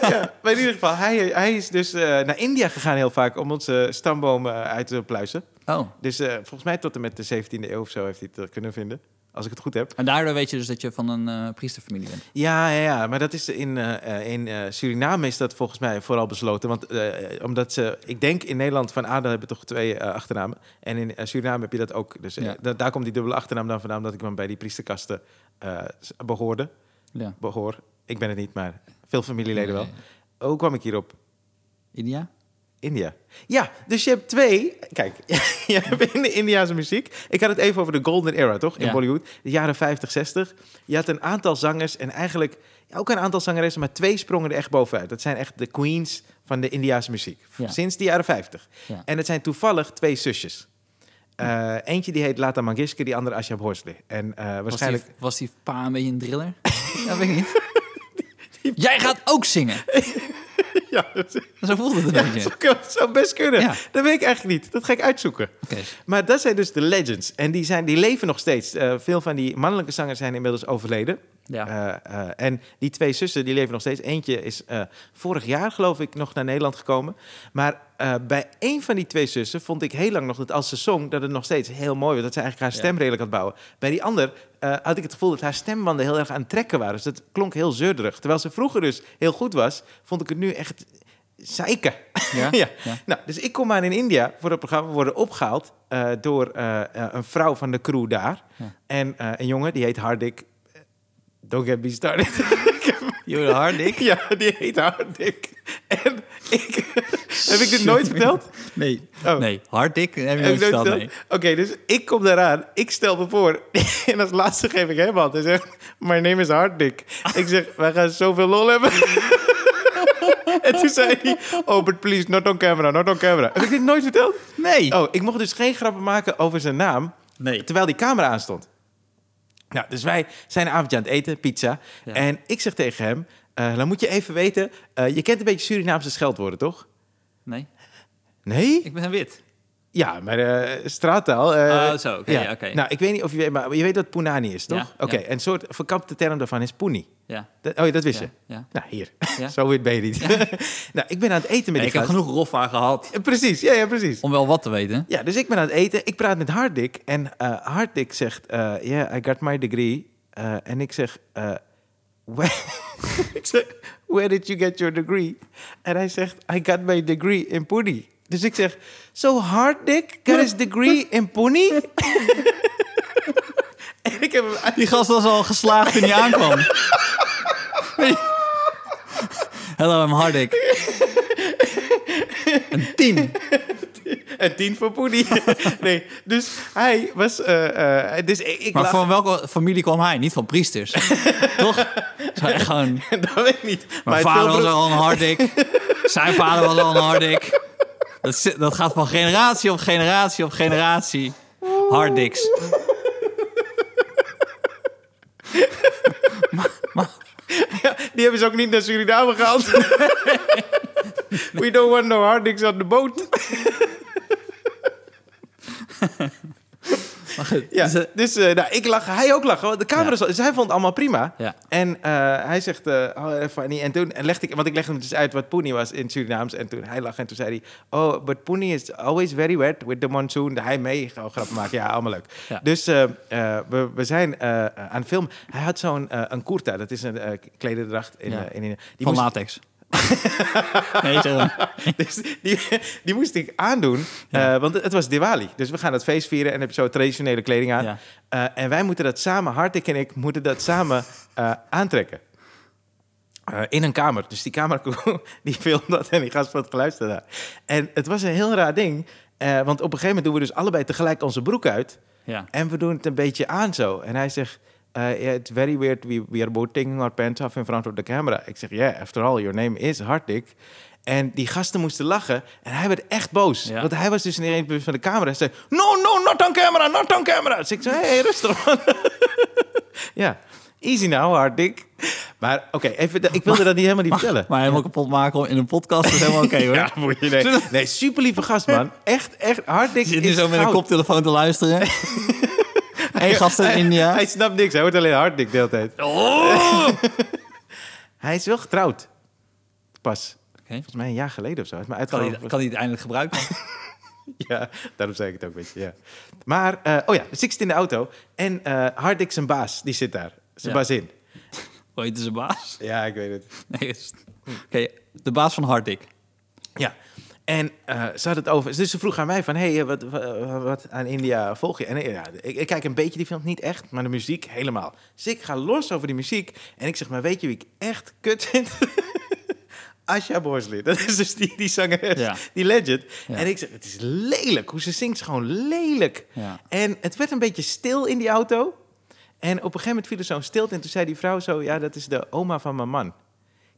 A: ja, maar in ieder geval, hij, hij is dus eh, naar India gegaan heel vaak om onze stamboom eh, uit te pluizen.
B: Oh.
A: Dus eh, volgens mij tot en met de 17e eeuw of zo heeft hij het eh, kunnen vinden. Als ik het goed heb.
B: En daardoor weet je dus dat je van een eh, priesterfamilie bent.
A: Ja, ja, ja. Maar dat is in, eh, eh, in eh, Suriname is dat volgens mij vooral besloten. Want eh, omdat ze, ik denk in Nederland van adel hebben toch twee eh, achternamen. En in eh, Suriname heb je dat ook. Dus eh,
B: Ja.
A: da- daar komt die dubbele achternaam dan vandaan. Omdat ik dan bij die priesterkasten eh, s- behoorde.
B: Ja.
A: Behoor. Ik ben het niet, maar veel familieleden wel.
B: Nee.
A: Hoe kwam ik hierop?
B: India?
A: India. Ja, dus je hebt twee. Kijk, [LAUGHS] je hebt in de Indiaanse muziek. Ik had het even over de Golden Era, toch? In
B: Ja.
A: Bollywood. De jaren 50, 60. Je had een aantal zangers en eigenlijk ja, ook een aantal zangeressen, maar twee sprongen er echt bovenuit. Dat zijn echt de queens van de Indiaanse muziek.
B: Ja.
A: Sinds de jaren 50.
B: Ja.
A: En het zijn toevallig twee zusjes. Eh, eentje die heet Lata Mangeshkar, die andere Ashab Horsley. En eh,
B: Was
A: waarschijnlijk.
B: Die, was die pa een beetje een driller? [LAUGHS] dat weet ik niet.
A: [LAUGHS]
B: Jij gaat ook zingen. [LAUGHS]
A: Ja, dat [LAUGHS] zou-
B: Zo voelde het een
A: dat
B: beetje.
A: [LAUGHS] zou, best kunnen.
B: Ja.
A: Dat weet ik eigenlijk niet. Dat ga ik uitzoeken.
B: Oké.
A: Maar dat zijn dus de legends. En die, zijn, die leven nog steeds. Eh, veel van die mannelijke zangers zijn inmiddels overleden.
B: Ja.
A: Eh, eh, en die twee zussen, die leven nog steeds. Eentje is eh, vorig jaar, geloof ik, nog naar Nederland gekomen. Maar eh, bij één van die twee zussen vond ik heel lang nog dat als ze zong... dat het nog steeds heel mooi was. Dat ze eigenlijk haar
B: Ja.
A: stem redelijk had bouwen. Bij die ander eh, had ik het gevoel dat haar stembanden heel erg aan het trekken waren. Dus dat klonk heel zeurderig. Terwijl ze vroeger dus heel goed was, vond ik het nu echt zeiken.
B: Ja?
A: [LAUGHS] Ja.
B: Ja.
A: Nou, dus ik kom aan in India voor dat programma. We worden opgehaald eh, door eh, eh, een vrouw van de crew daar.
B: Ja.
A: En eh, een jongen, die heet Hardik. Don't get me started.
B: You're [LAUGHS] hard, Dick.
A: [LAUGHS] ja, die heet Hardik. En ik... heb ik dit nooit verteld?
B: Nee.
A: Oh.
B: Nee, hard, Dick. Heb
A: Heb
B: je nooit
A: ik nooit
B: verteld,
A: verteld?
B: nee.
A: Oké, dus ik kom daaraan. Ik stel me voor. [LAUGHS] en als laatste geef ik hem hand. Hij zegt, my name is Hardik. ik zeg, wij gaan zoveel lol hebben. [LAUGHS] en toen zei hij, oh, but please, not on camera, not on camera. Heb ik dit nooit verteld?
B: Nee.
A: Oh, ik mocht dus geen grappen maken over zijn naam,
B: Nee.
A: terwijl die camera aanstond. Nou, dus wij zijn een avondje aan het eten, pizza.
B: Ja.
A: En ik zeg tegen hem, eh, dan moet je even weten, eh, je kent een beetje Surinaamse scheldwoorden, toch?
B: Nee,
A: Nee?
B: ik ben wit.
A: Ja, maar eh, straattaal. eh,
B: Oh, zo, oké, ja, oké.
A: Nou, ik weet niet of je weet, maar je weet wat punani is, toch?
B: Ja,
A: Oké,
B: ja.
A: en een soort verkapte term daarvan is puni.
B: Ja.
A: Dat, oh, ja, dat wist
B: Ja,
A: je.
B: ja.
A: Nou, hier. [LAUGHS]
B: Ja.
A: zo wit ben je niet. nou, ik ben aan het eten met
B: Nee,
A: die
B: ik heb
A: gast.
B: genoeg rof aan gehad
A: Eh, Precies, ja, ja, precies.
B: om wel wat te weten.
A: Ja, dus ik ben aan het eten. Ik praat met Hardik. En eh Hardik zegt, eh yeah, I got my degree. Eh, en ik zeg, eh, where, [LAUGHS] ik zeg, where did you get your degree? En hij zegt, I got my degree in Puni. Dus ik zeg, so Hardik got his degree in Puni? [LAUGHS] en ik heb hem uit-
B: Die gast was al
A: [LAUGHS]
B: geslaagd toen hij aankwam. Hello, I'm Hardik. Een tien.
A: en tien voor Puni. [LAUGHS] nee, dus hij was... eh, eh, dus ik, ik
B: Maar
A: lag-
B: van welke familie kwam hij? Niet van priesters. Toch? Zou echt gewoon... Mijn
A: [LAUGHS] dat weet ik niet. Maar het
B: vader was
A: filmpje-
B: al een hardik. Zijn vader was al een hardik. Dat, is- dat gaat van generatie op generatie op generatie. Hardiks.
A: Die hebben ze ook niet naar Suriname
B: [LAUGHS]
A: gehaald. We don't want no harddicks on the boat.
B: Maar goed,
A: Ja,
B: dus, eh,
A: dus eh, nou, ik lach, hij ook lachen. want De camera
B: Ja.
A: zat- dus hij vond het allemaal prima.
B: Ja.
A: En eh, hij zegt, eh oh, eh, funny. En toen legde ik, want ik legde hem dus uit wat poenie was in Surinaams. En toen hij lachte en toen zei hij, oh, but poenie is always very wet with the monsoon. Hij mee, gewoon grap maken. Ja, allemaal leuk.
B: Ja.
A: Dus eh, eh, we, we zijn eh, aan film. Hij had zo'n eh, een kurta, dat is een eh, klederdracht in,
B: Ja.
A: eh, in, in- die
B: van
A: moest-
B: latex. [LAUGHS] nee, zeg maar.
A: [LAUGHS] dus die, die moest ik aandoen,
B: Ja.
A: eh, want het was Diwali. Dus we gaan het feest vieren en heb je zo traditionele kleding aan.
B: Ja.
A: Eh, en wij moeten dat samen, Hartik en ik, moeten dat samen eh, aantrekken. Eh, in een kamer. [LAUGHS] Dus die kamercrew die filmde dat en die gast van het geluisterd daar. En het was een heel raar ding, eh, want op een gegeven moment doen we dus allebei tegelijk onze broek uit.
B: Ja.
A: En we doen het een beetje aan zo. En hij zegt, eh, yeah, it's very weird. We, we are both taking our pants off in front of the camera. Ik zeg, yeah, after all, your name is Hartik. En die gasten moesten lachen. En hij werd echt boos.
B: Ja.
A: Want hij was dus ineens bewust van de camera. Hij zei, no, no, not on camera, not on camera. Dus ik zei, hey, rustig man. [LAUGHS] ja, easy now, Hartik. Maar oké, even. ik wilde dat niet helemaal niet vertellen.
B: Maar helemaal kapot maken in een podcast is helemaal oké hoor.
A: [LAUGHS] ja, moet je nee. Nee, super lieve gast, man. Echt, echt. Hardik
B: Je zit nu
A: is
B: zo met een
A: goud.
B: koptelefoon te
A: [LAUGHS]
B: luisteren. Eén gast uit
A: Hij-
B: India.
A: Hij snapt niks. Hij hoort alleen Hardik de hele tijd. [LAUGHS]
B: Oh!
A: Hij is wel getrouwd. Pas.
B: Oké.
A: Volgens mij een jaar geleden of zo. Hij is maar
B: Kan,
A: uitgelopen.
B: hij, kan hij het eindelijk gebruiken?
A: Ja, daarom zei ik het ook een beetje. Ja. Maar, eh, oh ja, ik zit in de auto. En eh Hardik, zijn baas, die zit daar. Zijn
B: Ja.
A: baas in.
B: Hoe heet zijn baas?
A: Ja, ik weet het.
B: Nee, is- Oké, de baas van Hardik.
A: Ja. En eh, ze had het over. Dus ze vroeg aan mij van, hey, eh, wat, wa- wat aan India volg je? En eh, ja, ik, ik kijk een beetje die film, niet echt, maar de muziek helemaal. Dus ik ga los over die muziek en ik zeg, maar weet je wie ik echt kut vind? [LAUGHS] Asha Bosley, dat is dus die, die zangeres,
B: Ja.
A: die legend.
B: Ja.
A: En ik zeg, het is lelijk. Hoe ze zingt is gewoon lelijk.
B: Ja.
A: En het werd een beetje stil in die auto. En op een gegeven moment viel er zo'n stilte. En toen zei die vrouw zo, ja, dat is de oma van mijn man. Ik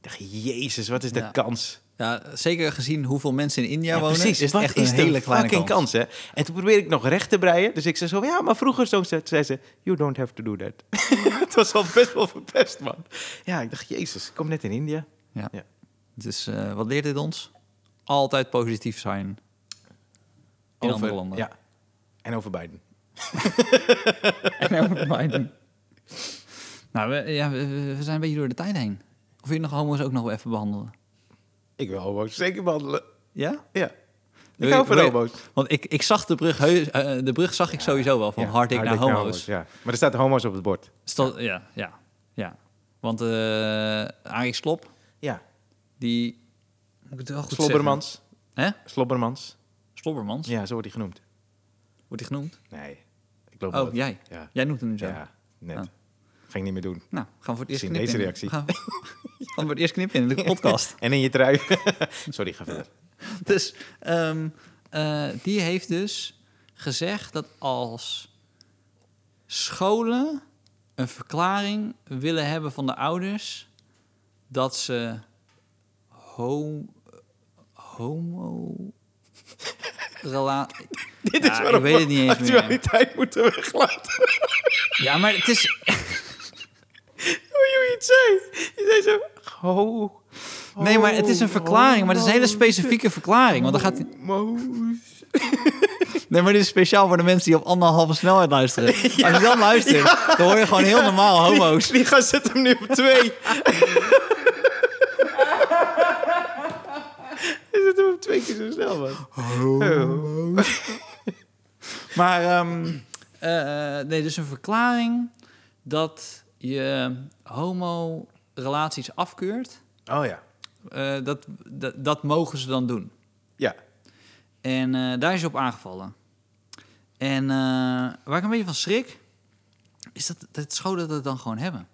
A: dacht, jezus, wat is de
B: Ja.
A: kans?
B: Ja, zeker gezien hoeveel mensen in India
A: Ja,
B: wonen,
A: precies.
B: is het
A: Wat
B: echt
A: is
B: een
A: de
B: hele kleine
A: fucking
B: kans.
A: kans. hè? En toen probeerde ik nog recht te breien. Dus ik zei zo, ja, maar vroeger zo Toen zei ze, you don't have to do that. [LAUGHS] het was al best wel verpest, man. Ja, ik dacht, jezus, ik kom net in India.
B: Ja.
A: Ja.
B: Dus eh, wat leert dit ons? Altijd positief zijn in andere landen. [LAUGHS]
A: Ja. En over Biden.
B: En over Biden. Nou, we, ja, we, we zijn een beetje door de tijd heen. Of wil je nog homo's ook nog wel even behandelen?
A: Ik wil homo's zeker behandelen.
B: Ja?
A: Ja. Ik
B: Wil je-
A: hou van
B: wil je-
A: homo's.
B: Want ik, ik zag de brug, heus- eh, de brug zag ik sowieso wel, van
A: Ja,
B: hard ik naar
A: hard ik
B: homo's.
A: ja. Maar er staat homo's op het bord.
B: Sto- ja, ja, ja. Want eh Arie Slop,
A: Ja.
B: die... Moet ik het wel goed
A: Slobbermans.
B: zeggen? Hè?
A: Slobbermans.
B: Slobbermans?
A: Ja, zo wordt hij genoemd.
B: Wordt hij genoemd?
A: Nee, ik loop
B: Oh, jij.
A: Ja.
B: Jij noemt hem nu zo.
A: Ja, net.
B: Ah.
A: Ging niet meer doen.
B: Nou, gaan we voor het eerst
A: Zien
B: knippen.
A: deze
B: in.
A: reactie.
B: Gaan we, [LAUGHS] gaan we voor het eerst knippen in de podcast. [LAUGHS]
A: En in je trui. [LAUGHS] Sorry, ga verder.
B: dus ehm, eh, die heeft dus gezegd dat als scholen een verklaring willen hebben van de ouders dat ze ho homo [LAUGHS] relatie.
A: [LAUGHS] Dit
B: Ja,
A: is
B: ik
A: waarom
B: weet het niet
A: we
B: eens meer.
A: actualiteit moeten weglaten.
B: Ja, maar het is
A: [LAUGHS] Hoe je iets zei. Je zei zo... Ho,
B: nee, maar het is een verklaring, maar het is een hele specifieke verklaring, want dan gaat
A: Moos.
B: Nee, maar dit is speciaal voor de mensen die op anderhalve snelheid luisteren. Als je dan luistert, dan hoor je gewoon heel normaal homo's.
A: [LAUGHS] Die gaan zetten hem nu op twee. [LAUGHS] Je zet hem op twee keer zo snel, man.
B: Maar ehm, eh, nee, dus een verklaring dat je homo-relaties afkeurt,
A: Oh ja.
B: eh, dat, dat, dat mogen ze dan doen.
A: Ja.
B: Ah, En eh, daar is je op aangevallen. En eh, waar ik een beetje van schrik, is dat, dat scholen dat dan gewoon hebben.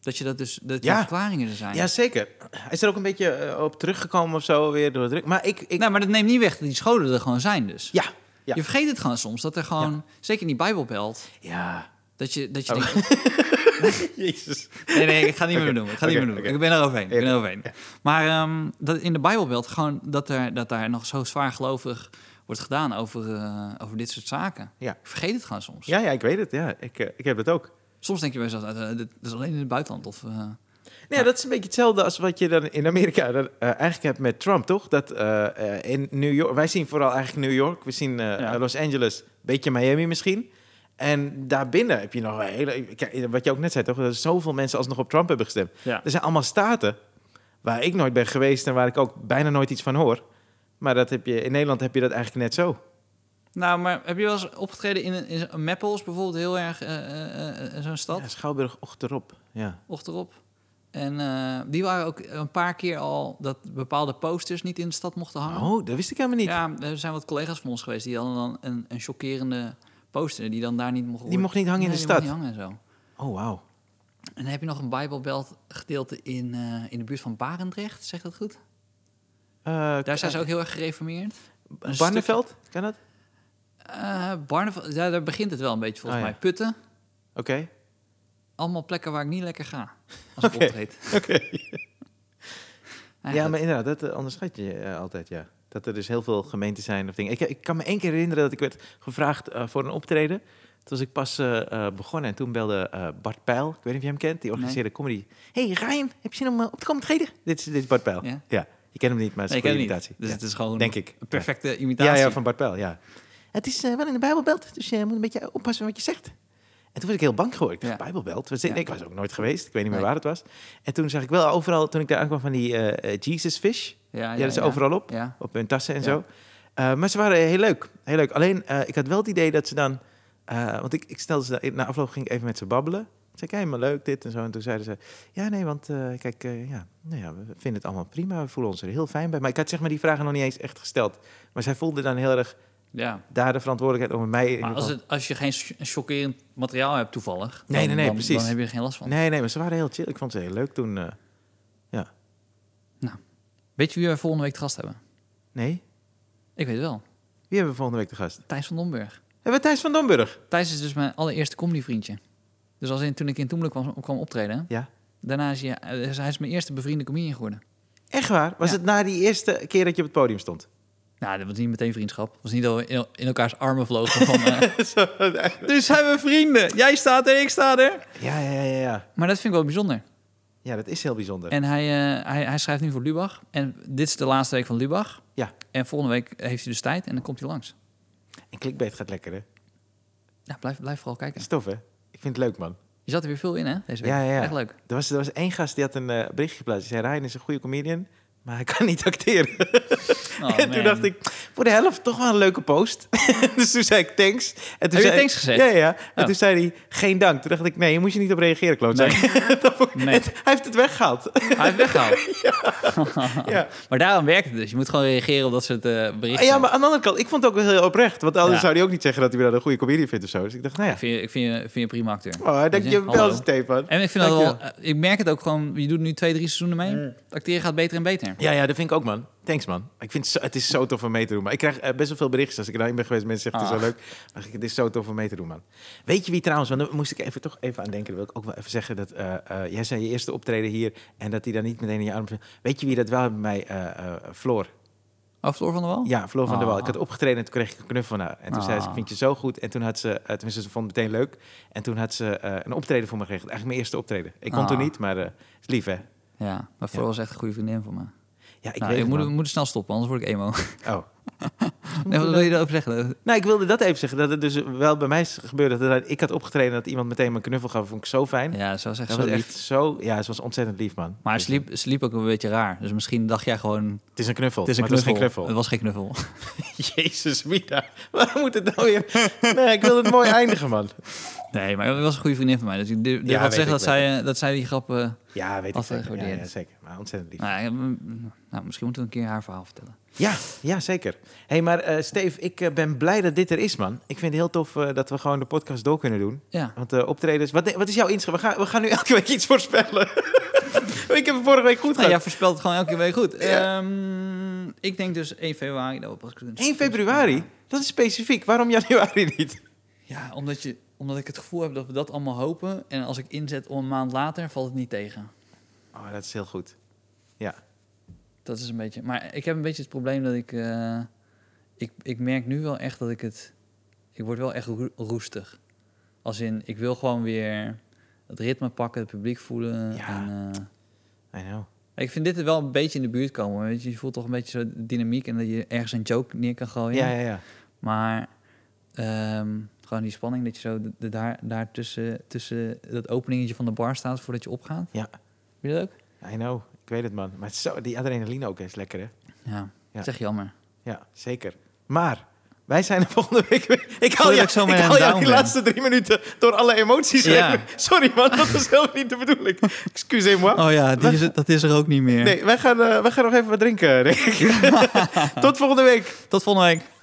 B: Dat je dat dus, dat die
A: Ja.
B: verklaringen er zijn.
A: ja, zeker. Hij is er ook een beetje eh, op teruggekomen of zo weer door het druk. Maar ik... ik
B: Nou, maar dat neemt niet weg dat die scholen er gewoon zijn dus.
A: ja. Ja.
B: Je vergeet het gewoon soms, dat er gewoon, zeker in die Bijbelbelt,
A: Ja.
B: dat je, dat je
A: Oh.
B: denkt...
A: [LAUGHS] Jezus.
B: Nee, nee, ik ga het niet meer
A: [LAUGHS] Oké,
B: doen. Ik ga
A: oké,
B: het niet meer doen.
A: oké.
B: Ik ben er overheen. Ik ben
A: Ja.
B: er overheen. Maar ehm, dat in de Bijbelbeeld gewoon dat, er, dat daar nog zo zwaar gelovig wordt gedaan over, eh, over dit soort zaken.
A: Ja.
B: Ik vergeet het gewoon soms.
A: Ja, ja, ik weet het. Ja, ik, eh, ik heb het ook.
B: Soms denk je bij jezelf, eh, dit is alleen in het buitenland. Of, eh,
A: Nee, dat is een beetje hetzelfde als wat je dan in Amerika dan, eh, eigenlijk hebt met Trump, toch? Dat eh, eh, in New York, wij zien vooral eigenlijk New York, we zien eh,
B: Ja.
A: Los Angeles, beetje Miami misschien. En daarbinnen heb je nog een hele. kijk, Wat je ook net zei, toch? Dat er zoveel mensen alsnog op Trump hebben gestemd.
B: Ja.
A: Er zijn allemaal staten waar ik nooit ben geweest en waar ik ook bijna nooit iets van hoor. Maar dat heb je, in Nederland heb je dat eigenlijk net zo.
B: Nou, maar heb je wel eens opgetreden in, een- in een Meppels bijvoorbeeld? Heel erg eh, eh, eh, zo'n stad,
A: Ja, Schouwburg ochterop. Ja.
B: ochterop. En eh, die waren ook een paar keer al dat bepaalde posters niet in de stad mochten hangen.
A: Oh, dat wist ik helemaal niet.
B: Ah. Ja, er zijn wat collega's van ons geweest die hadden dan een, een chockerende poster die dan daar niet mocht
A: Die mocht niet hangen in de stad.
B: Die mocht niet hangen en zo.
A: Oh, wauw.
B: En dan heb je nog een Bijbelbelt gedeelte in, eh, in de buurt van Barendrecht, zegt dat goed?
A: Eh,
B: Daar zijn ze ook heel erg gereformeerd. Een
A: Barneveld, kan dat?
B: stuk- eh, Barneveld, ja, daar begint het wel een beetje volgens
A: Ah, ja.
B: mij. Putten,
A: Oké.
B: allemaal plekken waar ik niet lekker ga als ik
A: Oké.
B: optreed.
A: [LAUGHS] Oké.
B: Nou
A: Ja,
B: goed.
A: maar inderdaad, dat eh, onderschat je eh, altijd, ja. Dat er dus heel veel gemeenten zijn of dingen. Ik, ik kan me één keer herinneren dat ik werd gevraagd eh, voor een optreden. Toen was ik pas eh, eh, begonnen en toen belde eh, Bart Pijl, ik weet niet of je hem kent, die organiseerde comedy. hey, Ryan, heb je zin om eh, op te komen treden? Dit is, dit is Bart Pijl.
B: Ja.
A: je kent hem niet, maar het is
B: Nee, ik ken
A: een
B: het
A: goede
B: niet.
A: imitatie.
B: Dus
A: Ja.
B: het is gewoon
A: Denk ik.
B: een perfecte
A: Ja,
B: imitatie.
A: ja, van Bart Pijl, ja. Het is eh, wel in de Bijbelbelt, dus je moet een beetje oppassen wat je zegt. En toen was ik heel bang geworden. Ik dacht,
B: Ja.
A: Bijbelbelt? Wat zin-
B: Ja.
A: Ik was ook nooit geweest, ik weet niet meer
B: Nee.
A: waar het was. En toen zag ik wel overal, toen ik daar aankwam van die eh, eh, Jesus Fish.
B: Ja,
A: Ja,
B: ja,
A: dat is
B: ja.
A: overal op,
B: Ja.
A: op hun tassen en
B: Ja.
A: zo. Eh, maar ze waren heel leuk, heel leuk. Alleen, eh, ik had wel het idee dat ze dan... eh, want ik, ik stelde ze, na afloop ging ik even met ze babbelen. Ik zei, kijk, maar leuk dit en zo. En toen zeiden ze, ja, nee, want eh, kijk, eh, ja, nou ja, we vinden het allemaal prima. We voelen ons er heel fijn bij. Maar ik had zeg maar die vragen nog niet eens echt gesteld. Maar zij voelden dan heel erg
B: Ja.
A: daar de verantwoordelijkheid over mij. in
B: Maar
A: ieder
B: als,
A: geval.
B: het, als je geen sch- chockerend materiaal hebt toevallig,
A: Nee,
B: dan,
A: nee, nee,
B: dan,
A: precies.
B: dan heb je er geen last van.
A: Nee, nee, maar ze waren heel chill. Ik vond ze heel leuk toen. eh,
B: Weet je wie we volgende week te gast hebben?
A: nee,
B: Ik weet het wel.
A: wie hebben we volgende week de gast?
B: Thijs van Domburg.
A: Hebben we Thijs van Domburg?
B: Thijs is dus mijn allereerste comedyvriendje. Dus als in, toen ik in Toemelen kwam, kwam optreden,
A: Ja.
B: daarna is hij, eh, hij is mijn eerste bevriende comedian geworden.
A: Echt waar? Was
B: Ja.
A: het na die eerste keer dat je op het podium stond?
B: Nou, dat was niet meteen vriendschap. Dat was niet dat we in, in elkaars armen
A: [LAUGHS]
B: vlogen van... eh,
A: Zo,
B: dus zijn we vrienden. Jij staat er, ik sta er.
A: ja, ja, ja, ja.
B: Maar dat vind ik wel bijzonder.
A: Ja, dat is heel bijzonder.
B: En hij, eh, hij, hij schrijft nu voor Lubach. En dit is de laatste week van Lubach.
A: Ja.
B: En volgende week heeft hij dus tijd en dan komt hij langs.
A: En klikbeet gaat lekker, hè?
B: Ja, blijf, blijf vooral kijken.
A: Stof, hè? Ik vind het leuk, man.
B: Je zat er weer veel in, hè, deze week.
A: Ja, ja, ja.
B: Echt
A: [LAUGHS]
B: leuk.
A: Er was, er was één gast die had een eh, berichtje geplaatst. Die zei, Ryan is een goede comedian, maar hij kan niet acteren. [LAUGHS]
B: Oh,
A: en
B: man.
A: toen dacht ik, voor de helft toch wel een leuke post. [LAUGHS] dus toen zei ik thanks. En toen
B: je
A: zei,
B: thanks gezegd?
A: Ja, ja. En
B: Oh.
A: toen zei hij, geen dank. Toen dacht ik, nee, je moet je niet op reageren, klootzak. [LAUGHS] Dat vond ik-
B: Nee. Oh,
A: het- hij heeft het weggehaald.
B: Hij heeft weggehaald.
A: [LAUGHS] ja.
B: Maar daarom werkt het dus. Je moet gewoon reageren op dat soort eh, berichten.
A: ja, maar aan de andere kant, ik vond het ook wel heel oprecht. Want anders
B: Ja.
A: zou hij ook niet zeggen dat hij wel een goede comedian vindt of zo. Dus ik dacht, nou ja.
B: Ik vind je, ik vind je, ik vind je een prima acteur.
A: Oh,
B: Weet
A: dank je
B: Hallo.
A: wel, Stefan.
B: En ik vind dat
A: Dank Mm.
B: wel, eh, ik merk het ook gewoon, je doet nu twee, drie seizoenen mee. Het acteren gaat beter en beter.
A: Ja, ja, dat vind ik ook, man. Thanks, man. Ik vind het, zo- het is zo tof om mee te doen. Maar ik krijg eh, best wel veel berichtjes als ik daarin ben geweest. Mensen zeggen, het is zo
B: Ah.
A: leuk. Maar ik, het is zo tof om mee te doen, man. Weet je wie trouwens, want daar moest ik even, toch even aan denken. Dat wil ik ook wel even zeggen. Dat, eh, eh, jij zei je eerste optreden hier en dat hij dan niet meteen in je arm... Weet je wie dat wel bij mij... eh, eh, Floor.
B: Oh, Floor van der Wal?
A: Ja, Floor van der
B: Ah.
A: Wal. Ik had opgetreden en toen kreeg ik een knuffel van haar. En toen zei ze, ik
B: Ah.
A: vind je zo goed. En toen had ze, eh, tenminste, ze vond het meteen leuk. En toen had ze eh, een optreden voor me geregeld. Eigenlijk mijn eerste optreden. Ik kon
B: Ah.
A: toen niet, maar eh, het is lief, hè?
B: Ja, maar Floor was echt een goede vriendin van me.
A: Ja, ik
B: nou,
A: weet
B: ik
A: het,
B: moet,
A: man.
B: we moeten snel stoppen, anders word ik
A: [LAUGHS]
B: emo. [LAUGHS]
A: Oh.
B: Nee, wat wil je daarover zeggen?
A: Nou, ik wilde dat even zeggen. Dat het dus wel bij mij is gebeurd. Dat er- ik had opgetreden dat iemand meteen me een knuffel gaf. Vond ik zo fijn.
B: Ja, ze was echt
A: dat
B: zo
A: was
B: lief.
A: echt zo... Ja, ze was ontzettend lief, man.
B: Maar
A: Dus,
B: ze liep, ze liep ook een beetje raar. Dus misschien dacht jij gewoon,
A: Het is een knuffel.
B: het is een
A: maar
B: knuffel.
A: Het was geen
B: Het was geen knuffel.
A: knuffel. [LAUGHS] Jezus, Mita. Waarom moet het nou weer... Nee, ik wilde het mooi eindigen, man.
B: [LAUGHS] Nee, maar het was een goede vriendin van mij. Dus ik durf
A: Ja,
B: wat
A: weet
B: zeggen
A: ik,
B: dat zij, eh, dat zij die grappen...
A: Ja, weet ik
B: Altijd
A: zeker. Ja, ja,
B: gewaardeerd.
A: zeker. Maar ontzettend lief.
B: Nou, ja, mm, nou, misschien moeten we een keer haar verhaal vertellen.
A: Ja, ja zeker. hey, maar eh, Steve, ik eh, ben blij dat dit er is, man. Ik vind het heel tof eh, dat we gewoon de podcast door kunnen doen.
B: Ja.
A: Want eh, optredens... Wat, wat is jouw inschrijving? We gaan, we gaan nu elke week iets voorspellen. [LAUGHS] ik heb het vorige week goed
B: Nou,
A: gedaan.
B: jij voorspelt het gewoon elke week goed. Ehm, ik denk dus 1 februari. Dat we pas kunnen
A: 1 februari? Dat is specifiek. Waarom januari niet?
B: Ja, omdat, je, omdat ik het gevoel heb dat we dat allemaal hopen. En als ik inzet om een maand later, valt het niet tegen.
A: Oh, dat is heel goed. Ja.
B: Dat is een beetje... Maar ik heb een beetje het probleem dat ik... eh, ik, ik merk nu wel echt dat ik het... Ik word wel echt roe- roestig. Als in, ik wil gewoon weer het ritme pakken, het publiek voelen.
A: Ja.
B: En, eh,
A: I know.
B: ik vind dit er wel een beetje in de buurt komen. Weet je, je voelt toch een beetje zo dynamiek en dat je ergens een joke neer kan gooien.
A: Ja, ja, ja.
B: Maar ehm, gewoon die spanning dat je zo de, de daar, daar tussen, tussen dat openingetje van de bar staat voordat je opgaat.
A: Ja.
B: Vind je dat ook?
A: I know. Ik weet het, man. Maar zo, die adrenaline ook is lekker, hè?
B: Ja.
A: Ja.
B: Dat is echt jammer.
A: Ja, zeker. Maar wij zijn er [LAUGHS] volgende week weer. Ik haal
B: Sorry
A: je,
B: dat ik zo
A: ik
B: met hem
A: haal jou
B: down
A: die
B: ben.
A: laatste drie minuten door alle emoties
B: Ja.
A: heen. Sorry man, dat was helemaal niet de bedoeling. Excusez-moi.
B: Oh ja, die is, het- dat is er ook niet meer. [LAUGHS]
A: Nee, wij gaan, eh, wij gaan nog even wat drinken, denk ik. Tot volgende week.
B: Tot volgende week.